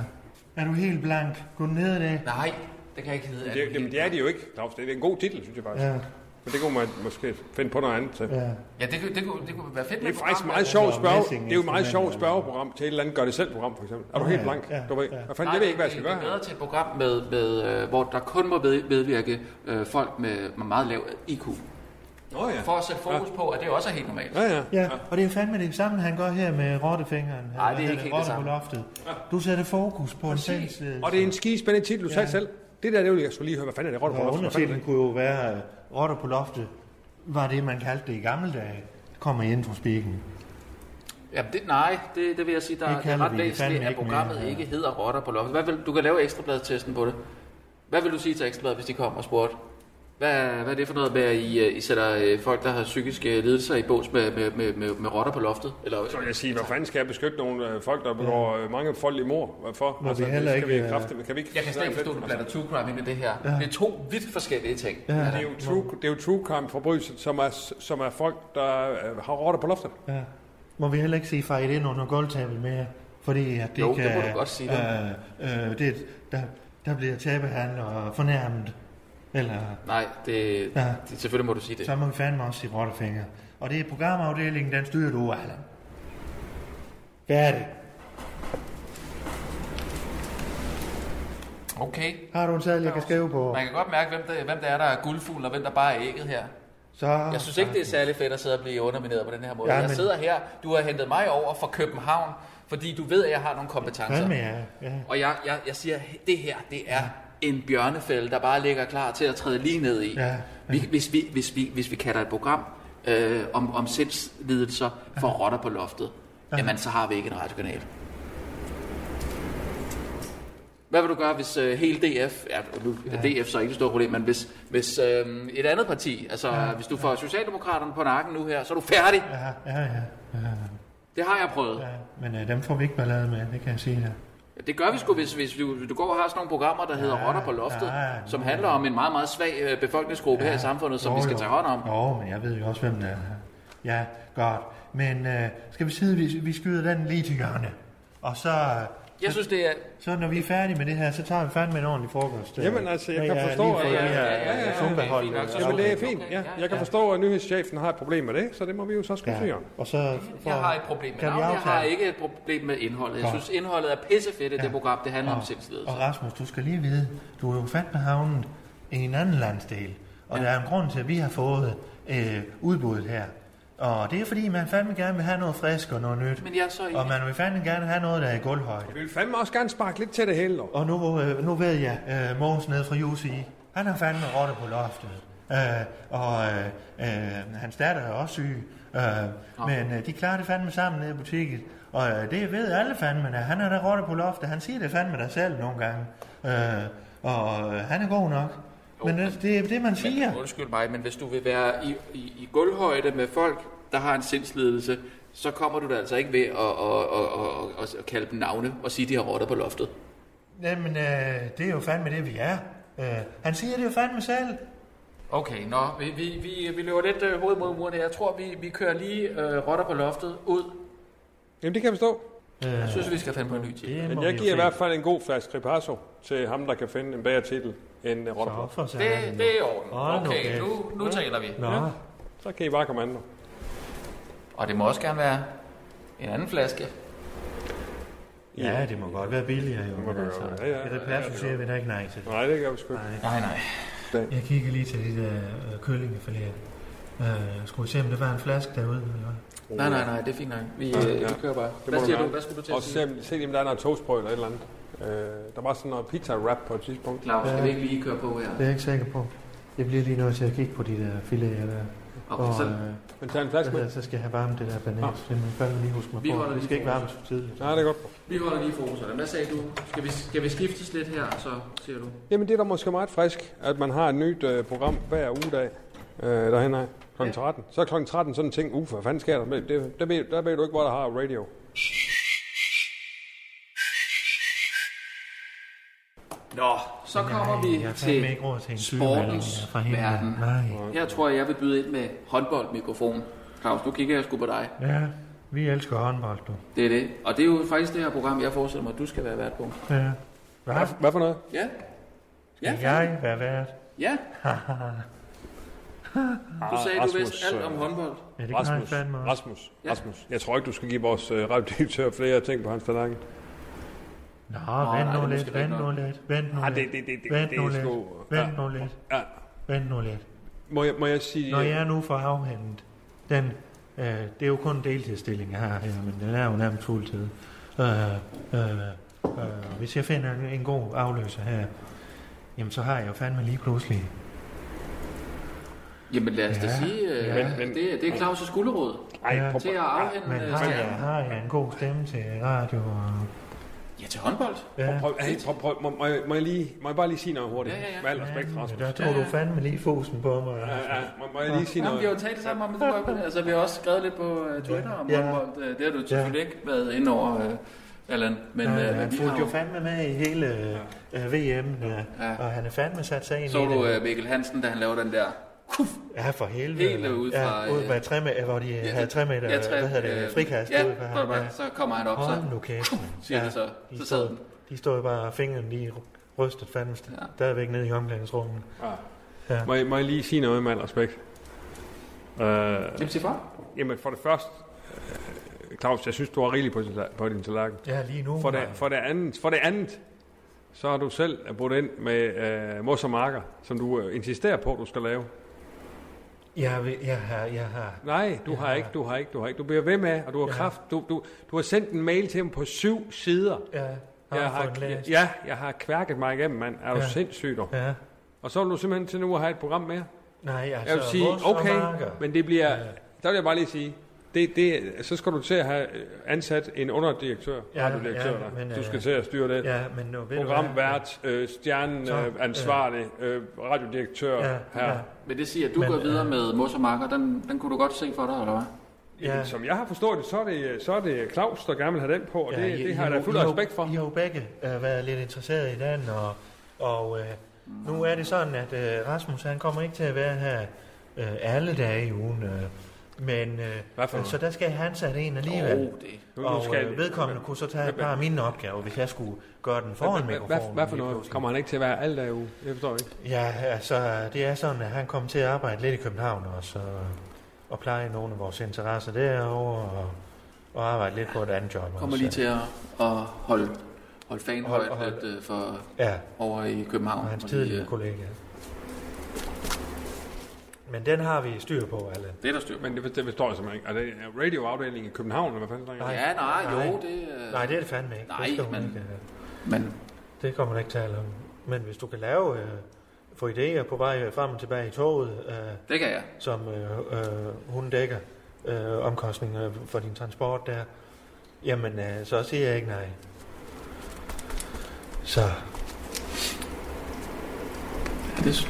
Er du helt blank? Gå ned i det.
Nej, det kan jeg ikke hedde.
Det, er- jamen, det er de jo ikke, Claus. Det er en god titel, synes jeg faktisk.
Ja,
Ja. Men det kunne man måske finde på noget andet til.
ja.
Ja, det, kunne- det, kunne, det kunne være fedt
Det
med
er
et
faktisk
program,
meget
hvor-
sjovt
Altså,
spørge.
messing-
Det er jo et meget
instrumenter
sjovt
eller-
spørgeprogram til et eller andet gør-det-selv-program, for eksempel. Er du
Ja,
helt blank?
ja,
Du ved,
ja.
hvad fanden, jeg ved ikke, hvad jeg skal
det,
gøre.
Det er bedre til et program, med, med, øh, hvor der kun må ved- medvirke øh, folk med, med meget lav IQ.
Nå ja.
For at sætte fokus på, at det også er helt normalt.
Ja, ja.
ja. Og det er fandme det samme, han gør her med rottefingeren.
Nej, det er ikke helt det
Rotte på
samme.
loftet. Du sætter fokus på en øh, sindsledelse.
Og det er en ski spændende titel, du sagde selv. Det der, det vil jeg skulle lige høre, hvad fanden er det? Rotter på
Og
loftet? Hvad fanden er
undertitlen kunne jo være, øh, rotter på loftet var det, man kaldte det i gamle dage. Kommer i introspikken.
Jamen, det, nej, det, det vil jeg sige, der
Det
det, det er
kalder
ret
vi det
væsentligt,
fandme
at
ikke
programmet
mere, ja.
ikke hedder rotter på loftet. Hvad vil, du kan lave ekstrabladstesten på det. Hvad vil du sige til ekstrabladet, hvis de kom og spurgte? Hvad, hvad er det for noget med, at I, øh, I sætter øh, folk, der har psykiske lidelser i bås med, med, med, med, med rotter på loftet? Eller,
Så vil jeg sige, hvad fanden skal jeg beskytte nogle øh, folk, der begår ja. mange folk i mor? Hvorfor? Altså,
Må vi heller
skal
ikke,
Vi
øh,
kraftigt, kan vi ikke
Jeg kan slet ikke forstå, at du blander true crime ind i det her. Ja. Det er to vidt forskellige ting. Ja.
Det er jo true, det er jo true crime forbrydelser, som er, som er folk, der øh, har rotter på loftet.
Ja. Må vi heller ikke sige fejl ind under gulvtæppet mere? Fordi at det
Jo, det
kan...
må du godt sige,
Øh, øh, det, der, der bliver tæppehandler og fornærmet. Eller
Nej, det,
Ja.
det, selvfølgelig må du sige det.
så må vi fandme også sige rottefingre. Og det er programafdelingen, den styrer du, Allan. Hvad er det?
Okay.
Har du en sædel, jeg kan skrive på?
Man kan godt mærke, hvem der, hvem der er, der er guldfuglen, og hvem der bare er ægget her.
Så...
Jeg synes ikke, det er særlig fedt at sidde og blive undermineret på den her måde.
Ja,
Ja, men...
men-
Jeg sidder her, du har hentet mig over fra København, fordi du ved, at jeg har nogle kompetencer.
Fandme, ja. ja.
Og jeg, jeg, jeg siger, det her, det er en bjørnefælde, der bare ligger klar til at træde lige ned i.
Ja, ja.
Vi, hvis, vi, hvis, vi, hvis vi kalder et program øh, om, om sindslidelser for rotter på loftet, jamen så har vi ikke en radiokanal. Hvad vil du gøre, hvis øh, hele DF, ja, nu er DF så ikke et stort problem, men hvis, hvis øh, et andet parti, altså ja, hvis du får Socialdemokraterne på nakken nu her, så er du færdig. Ja.
Ja, ja, ja.
Det har jeg prøvet. Ja.
ja. Men øh, dem får vi ikke ballade med, det kan jeg sige her.
Det gør vi sgu, hvis, hvis du, du går og har sådan nogle programmer, der hedder ja, Rotter på loftet,
ja,
ja,
ja.
som handler om en meget, meget svag øh, befolkningsgruppe ja, her i samfundet, som jo, vi skal tage hånd om.
Jo, men jeg ved jo også, hvem det er. Ja, godt. Men øh, skal vi sidde, vi, vi skyder den lige til hjørne. Og så, øh,
Jeg synes, det er...
så når vi er færdige med det her, så tager vi fandme en ordentlig frokost. øh,
Jamen, altså, jeg
med
kan
jer,
forstå,
lige fra
at-
det her,
Ja, ja, ja, ja,
øh,
ja,
Zumba-hold,
fint nok, så-
øh,
Jamen, det er
okay,
fint. Ja,
ja,
jeg kan forstå, at nyhedschefen har et problem med det, så det må vi jo så skulle ja.
Ja,
om.
og så får,
Jeg har et problem med
kan vi
navnet, jeg har
aftale?
ikke et problem med indholdet. Jeg
Godt.
synes, indholdet er pissefedt i
Ja.
det program, det handler om
Og
sindslidelser.
Rasmus, du skal lige vide, du er jo fandme havnet i en anden landsdel. Og ja. der er en grund til, at vi har fået øh, udbuddet her. Og det er fordi, man fandme gerne vil have noget frisk og noget nyt.
Men jeg er så
Og
enig.
man vil fandme gerne have noget, der er i gulvhøjde.
Vi vil fandme også gerne sparke lidt til det hele, dog.
Og nu, øh, nu ved jeg, øh, Mogens nede fra UCI, han har fandme rotte på loftet. Øh, og øh, øh, hans datter er også syg. Øh, Men øh, de klarer det fandme sammen nede i butikken. Og øh, det ved alle fandme, da. han er der rotte på loftet. Han siger det fandme der selv nogle gange. Øh, og øh, han er god nok. Men det, det er det, man siger.
Men, undskyld mig, men hvis du vil være i, i, i gulvhøjde med folk, der har en sindslidelse, så kommer du da altså ikke ved at, at, at, at, at kalde dem navne og sige, de har rotter på loftet.
Jamen, øh, det er jo fandme det, vi er. Øh, han siger det jo fandme selv.
Okay, nå, vi, vi, vi, vi løber lidt øh, hovedet mod murene. Jeg tror, vi, vi kører lige øh, rotter på loftet ud.
Jamen, det kan jeg forstå.
Jeg synes, vi skal finde på en ny titel.
Øh, Det
Altså, Men
må
jeg
vi jo
giver i
se.
hvert fald en god flaske Ripasso til ham, der kan finde en bedre titel end øh,
Nå,
Rotter.
for satan.
Det, det er i orden.
Hold nu
Okay,
kæft.
nu, nu taler vi.
Nå.
Ja. Så kan I bare komme andre.
Og det må også gerne være en anden flaske.
Ja, det må godt være billigere jo.
Det må
men
du
altså,
gøre. Ja, ja,
I
ja,
repair,
ja,
så siger vi da ikke nej til det.
Nej, det kan vi sgu ikke.
Nej,
Nej.
nej.
Jeg kigger lige til de der øh, køllingefiléer. Øh, skulle vi se, om der var en flaske derude? Eller hvad?
Nej, nej, nej, det er fint nok. Vi, øh,
ja.
vi kører bare.
Det
Hvad
må du
siger du?
gerne.
Hvad skulle du til
Og
at
så
sige?
se, se lige, om der er noget toastbrød eller et eller andet. Øh, der var sådan noget pizza-wrap på et tidspunkt.
Claus, skal vi ikke lige køre på her?
Det er jeg ikke sikker på. Jeg bliver lige nødt til at kigge på de der filéer der.
Okay,
og
så
øh,
Men tag en flaske med.
hvad hedder, så skal jeg have varmet det der banan.
Ah.
Det må jeg fandme lige huske mig
Vi
på.
holder
Vi
lige
skal ikke
fokus.
varme det for tidligt.
Nej, det er godt.
Vi holder lige fokus af dem. Hvad sagde du? Skal vi, skal vi skiftes lidt her, så siger du?
Jamen, det er da måske meget frisk, at man har et nyt øh, program hver ugedag øh, derhen af kl. 13. Så er kl. 13 sådan en ting, ufa, hvad fanden sker der? Det, det, der, ved, der ved du ikke, hvor der har radio.
Nå, så kommer vi
øh, jeg har fandme
til
ikke råd til en sygemelding
sportens
fra hele
verden.
Nej.
Her tror jeg, jeg vil byde ind med håndboldmikrofon. Claus, nu kigger jeg sgu på dig.
Ja, vi elsker håndbold, du.
Det er det. Og det er jo faktisk det her program, jeg forestiller mig, at du skal være vært på.
Ja. Hvad?
Hvad, hvad for noget?
Ja?
Skal
Ja,
jeg være vært?
ja.
Ah,
Du sagde, du
Rasmus,
vidste alt om
øh,
håndbold.
Ja, det kan jeg
Rasmus,
fandme også.
Rasmus,
Ja.
Rasmus. Jeg tror ikke, du skal give vores øh, radiodirektør flere ting på hans tallerken.
Nå,
nej,
vent
det
nu
er
lidt,
måske
vent
rigtig
nu
nok.
lidt, vent nu
Ah, det-
lidt.
det- det- det-
Vent
det
nu
er
lidt,
sgu- ah, ja.
vent nu lidt,
Ja.
vent nu lidt.
Må jeg, må jeg sige...
Når jeg nu får afhentet, den, øh, det er jo kun en deltidsstilling, jeg har her, men den er jo nærmest fuldtid. Øh, øh, øh, hvis jeg finder en, en god afløser her, jamen så har jeg jo fandme lige pludselig.
Jamen lad os da
Ja,
sige, øh,
ja.
Men- men-
det, det er Claus' skulderråd
Ej, prøv,
til at afhente
Men
øh,
har jeg,
stjernen.
har jeg en god stemme til radio? Og,
Ja, til håndbold.
prøv,
ja,
prøv, hey, prøv, prøv, må, må, jeg, må, jeg lige, må jeg bare lige sige noget hurtigt?
Ja, ja, ja.
Med al respekt, Rasmus.
der tog du fandme lige fosen på mig.
Ja,
Altså.
ja, må, må jeg lige sige
Jamen, vi har
noget?
jo talt sammen om det, Jacob. altså vi har også skrevet lidt på uh, Twitter om
Ja.
ja. håndbold. Øh, Det har du
Ja.
selvfølgelig ikke været inde over, uh, Allan. Men,
Men,
øh,
øh,
men
han
vi har
fulgte jo
jo...
fandme med i hele øh, VM, øh,
Ja.
og han er fandme sat sig ind
Så
i det.
du øh, Mikkel Hansen, da han lavede den der... Kuf,
Ja, for helvede.
Helt
mand.
ud fra,
Ja, ud
øh,
fra tre meter, hvor de ja, havde tre meter,
ja, tre-
hvad hedder det,
øh,
frikast.
Ja,
ud fra ham,
så,
ja.
så kommer han op,
Hold
så
nu kæft, mand.
siger det så.
de
Så sad
stod-
den.
De stod bare og fingeren lige rystet fandme ja.
Ja.
stadigvæk nede i omklædningsrummet.
Ja. Må jeg, må jeg lige sige noget med al respekt? Øh,
Jamen, sig fra.
jamen, for det første, øh, Claus, jeg synes, du har rigeligt på din, talla- på din tallerken.
Ja, lige nu.
For det,
mand.
for, det andet, for det andet, så har du selv brudt ind med øh, mos og marker, som du øh, insisterer på, du skal lave.
Jeg, vil, jeg har, jeg har.
Nej, du har
Ja.
ikke, du har ikke, du har ikke. Du bliver ved med, og du har
Ja.
kraft. Du, du, du har sendt en mail til ham på syv sider.
Ja,
Jeg
har
har,
fået
jeg,
læst.
ja, jeg har kværket mig igennem, mand. Er du
Ja.
sindssyg, du?
ja.
Og så vil du simpelthen til nu at have et program mere?
Nej, altså,
Jeg vil sige,
vores
okay,
marker.
men det bliver... Der vil jeg bare lige sige, det, det, så skal du til at have øh, ansat en underdirektør,
Ja,
ja, radiodirektør,
ja,
ja,
men,
du skal
øh,
til at styre det.
Ja, men nu ved du hvad?
Programvært, øh,
Så,
stjerneansvarlig, øh,
øh,
ansvarlig, øh, radiodirektør
Ja,
her,
ja.
Men det siger, at du
Men,
går
øh,
videre med mos og marker. Den, den kunne du godt se for dig, eller hvad?
Ja,
Som jeg har forstået det, så er det, øh, så er det Claus, der gerne vil have den på, og
ja,
ja, det,
I-
det
I
har jeg da
jo-
fuld
I jo-
respekt for.
I har jo begge øh, været lidt interesseret i den, og, og øh, nu er det sådan, at øh, Rasmus han kommer ikke til at være her øh, alle dage i ugen. Øh, men, øh,
Hvad for noget?
så der skal han sætte en alligevel.
Åh, Oh, det.
Nu- nu
Og
skal-
øh, vedkommende kunne så tage et par af mine opgaver, hvis jeg skulle gøre den
Hvad-
foran
hvad- hvad-
mikrofonen.
Hvad for
lige
noget?
pludselig.
Kommer han ikke til at være alt der uge? Jeg forstår ikke.
Ja, altså, det er sådan, at han kom til at arbejde lidt i København også, og, og pleje nogle af vores interesser derovre, og, og arbejde lidt på et andet job
Kommer
også.
lige til at, at holde, holde fanen
Hold-
højt
hold-
lidt øh, for
Ja,
over i København.
og hans
fordi,
tidligere
øh,
kollega. Men den har vi styr på, Allan.
Det er der styr på.
Men det, det forstår jeg simpelthen ikke. Er det radioafdelingen i København, eller hvad fanden snakker jeg om?
Ja, nej, jo,
Nej.
det... øh,
Nej, det er det fandme ikke.
Nej,
det, skal hun
men-
ikke, øh,
Men
det kommer man ikke tale om. Men hvis du kan lave, øh, få idéer på vej øh, frem og tilbage i toget, øh,
det kan jeg.
som øh, øh, hun dækker øh, omkostninger for din transport der, jamen øh, så siger jeg ikke nej. Så
Ja, det er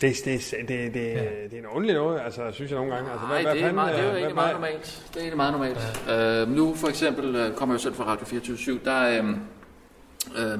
Det, det, det, det, det, ja. Øh, det er en ordentlig noget, altså, synes jeg nogle gange. Altså,
Nej, det, er
fanden,
meget, det er jo
øh,
egentlig
hvad-
meget normalt. Det er egentlig meget normalt. Ja. Øh, nu for eksempel øh, kommer jeg jo selv fra Radio 24 der, øh, øh,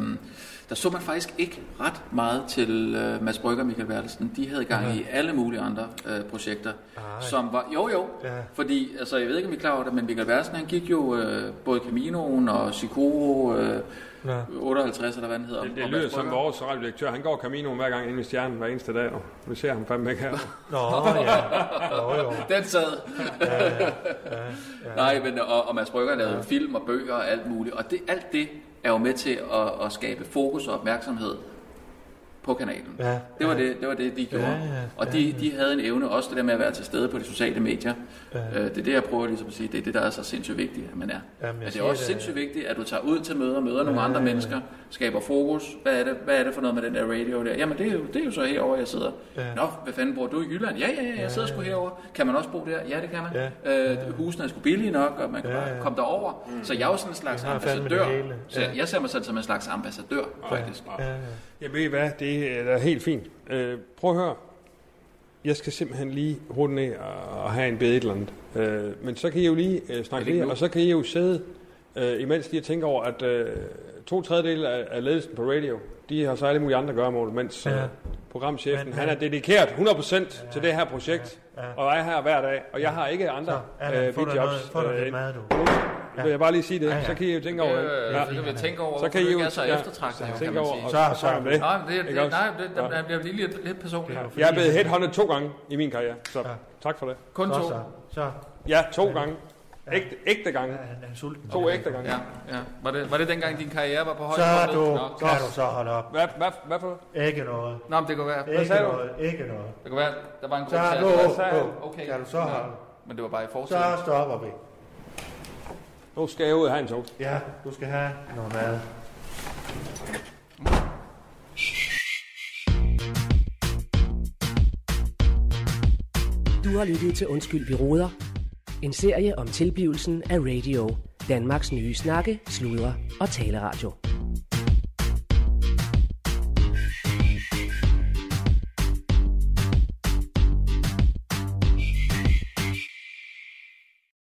der så man faktisk ikke ret meget til øh, Mads Brygger og Michael Bertelsen. De havde gang i alle mulige andre øh, projekter.
Ej.
Som var, jo, jo.
Ja.
Fordi, altså, jeg ved ikke, om I er klar over det, men Michael Bertelsen, han gik jo øh, både Caminoen og Sikoro øh,
Nå.
58, eller hvad han hedder.
Det, det
og Mads
lyder som
Brygger.
vores radiodirektør. Han går Caminoen hver gang inde ved stjernen hver eneste dag. Og vi ser ham fandme ikke her.
Nå, ja. Nå, jo.
Den sad. Nej, men og, og Mads Brygger lavede film og bøger og alt muligt. Og det, alt det er jo med til at, at skabe fokus og opmærksomhed på kanalen.
Ja,
Det var det, det var det, de gjorde.
ja,
og de, de havde en evne, også det der med at være til stede på de sociale medier. Øh, det er det, jeg prøver ligesom at sige, det er det, der er så sindssygt vigtigt, at man er.
jeg
Men det er
siger
også
det. øh,
sindssygt vigtigt, at du tager ud til møder, møder nogle andre mennesker, skaber fokus. Hvad er, det, hvad er det for noget med den der radio der? Jamen, det er jo, det er jo så herover jeg sidder. Nå, hvad fanden bor du i Jylland? Ja, ja, ja, jeg sidder sgu herover. Kan man også bo der? Ja, det kan man. Øh, husene er sgu billige nok, og man kan bare komme derover. Så jeg er jo sådan en slags
Jeg har fandme det
ambassadør.
hele.
Så
Ja.
jeg ser mig selv som en slags ambassadør, faktisk.
Jeg ved I hvad, det er da helt fint. Øh, prøv at høre. Jeg skal simpelthen lige hurtigt ned og, og have en bed et eller andet. Øh, men så kan I jo lige øh, snakke
ikke
videre,
nu?
og så kan I jo sidde, øh, imens lige at tænke over, at øh, to tredjedele af, af ledelsen på radio, de har så alle mulige andre gøremål, mens ja.
Ja.
øh, programchefen,
Men-
han er
men-
dedikeret 100% ja. til det her projekt, ja.
Ja,
Ja.
ja.
og er her hver dag, og jeg har ikke andre
Allan, få dig
øh,
noget-
vidjobs.
få dig lidt
øh,
mad, du.
Ja. Vil jeg bare lige sige det, ja,
Ja,
ja.
ja.
så kan I jo tænke over det.
Øh, så kan vi tænke over,
så
hvorfor
kan I
du
jo
ikke er så
ja,
eftertragtet, kan
tænke
man
over,
sige.
og
Så-
så,
så-
så er det.
Nej, men det, det,
Ikke også?
nej, det, det,
Ja.
det bliver lige lidt, lidt personligt.
jo fordi-
Jeg er blevet headhunted to gange i min karriere, så ja. tak for det.
Kun
Så,
to.
så, så.
Ja, to gange. Ægte, ægte gange.
Han er sulten.
To ægte gange.
Ja, ja. Var det, var det dengang, din karriere var på højde?
Så du,
Nå,
kan du så holde op.
Hvad, hvad, hvad for noget?
Ikke noget.
Nå, men det kunne være.
Ikke
sagde du?
noget. Ikke noget.
Det kunne være, der var en
Så
grund til,
du,
at
du,
Okay.
kan du så
Nå,
holde op.
Men det var bare i
Så
forsiden.
stopper vi.
Nu skal jeg ud og have en toast.
Ja, du skal have noget mad.
Du har lyttet til Undskyld, vi råder. En serie om tilblivelsen af radio. Danmarks nye snakke, sludre og taleradio.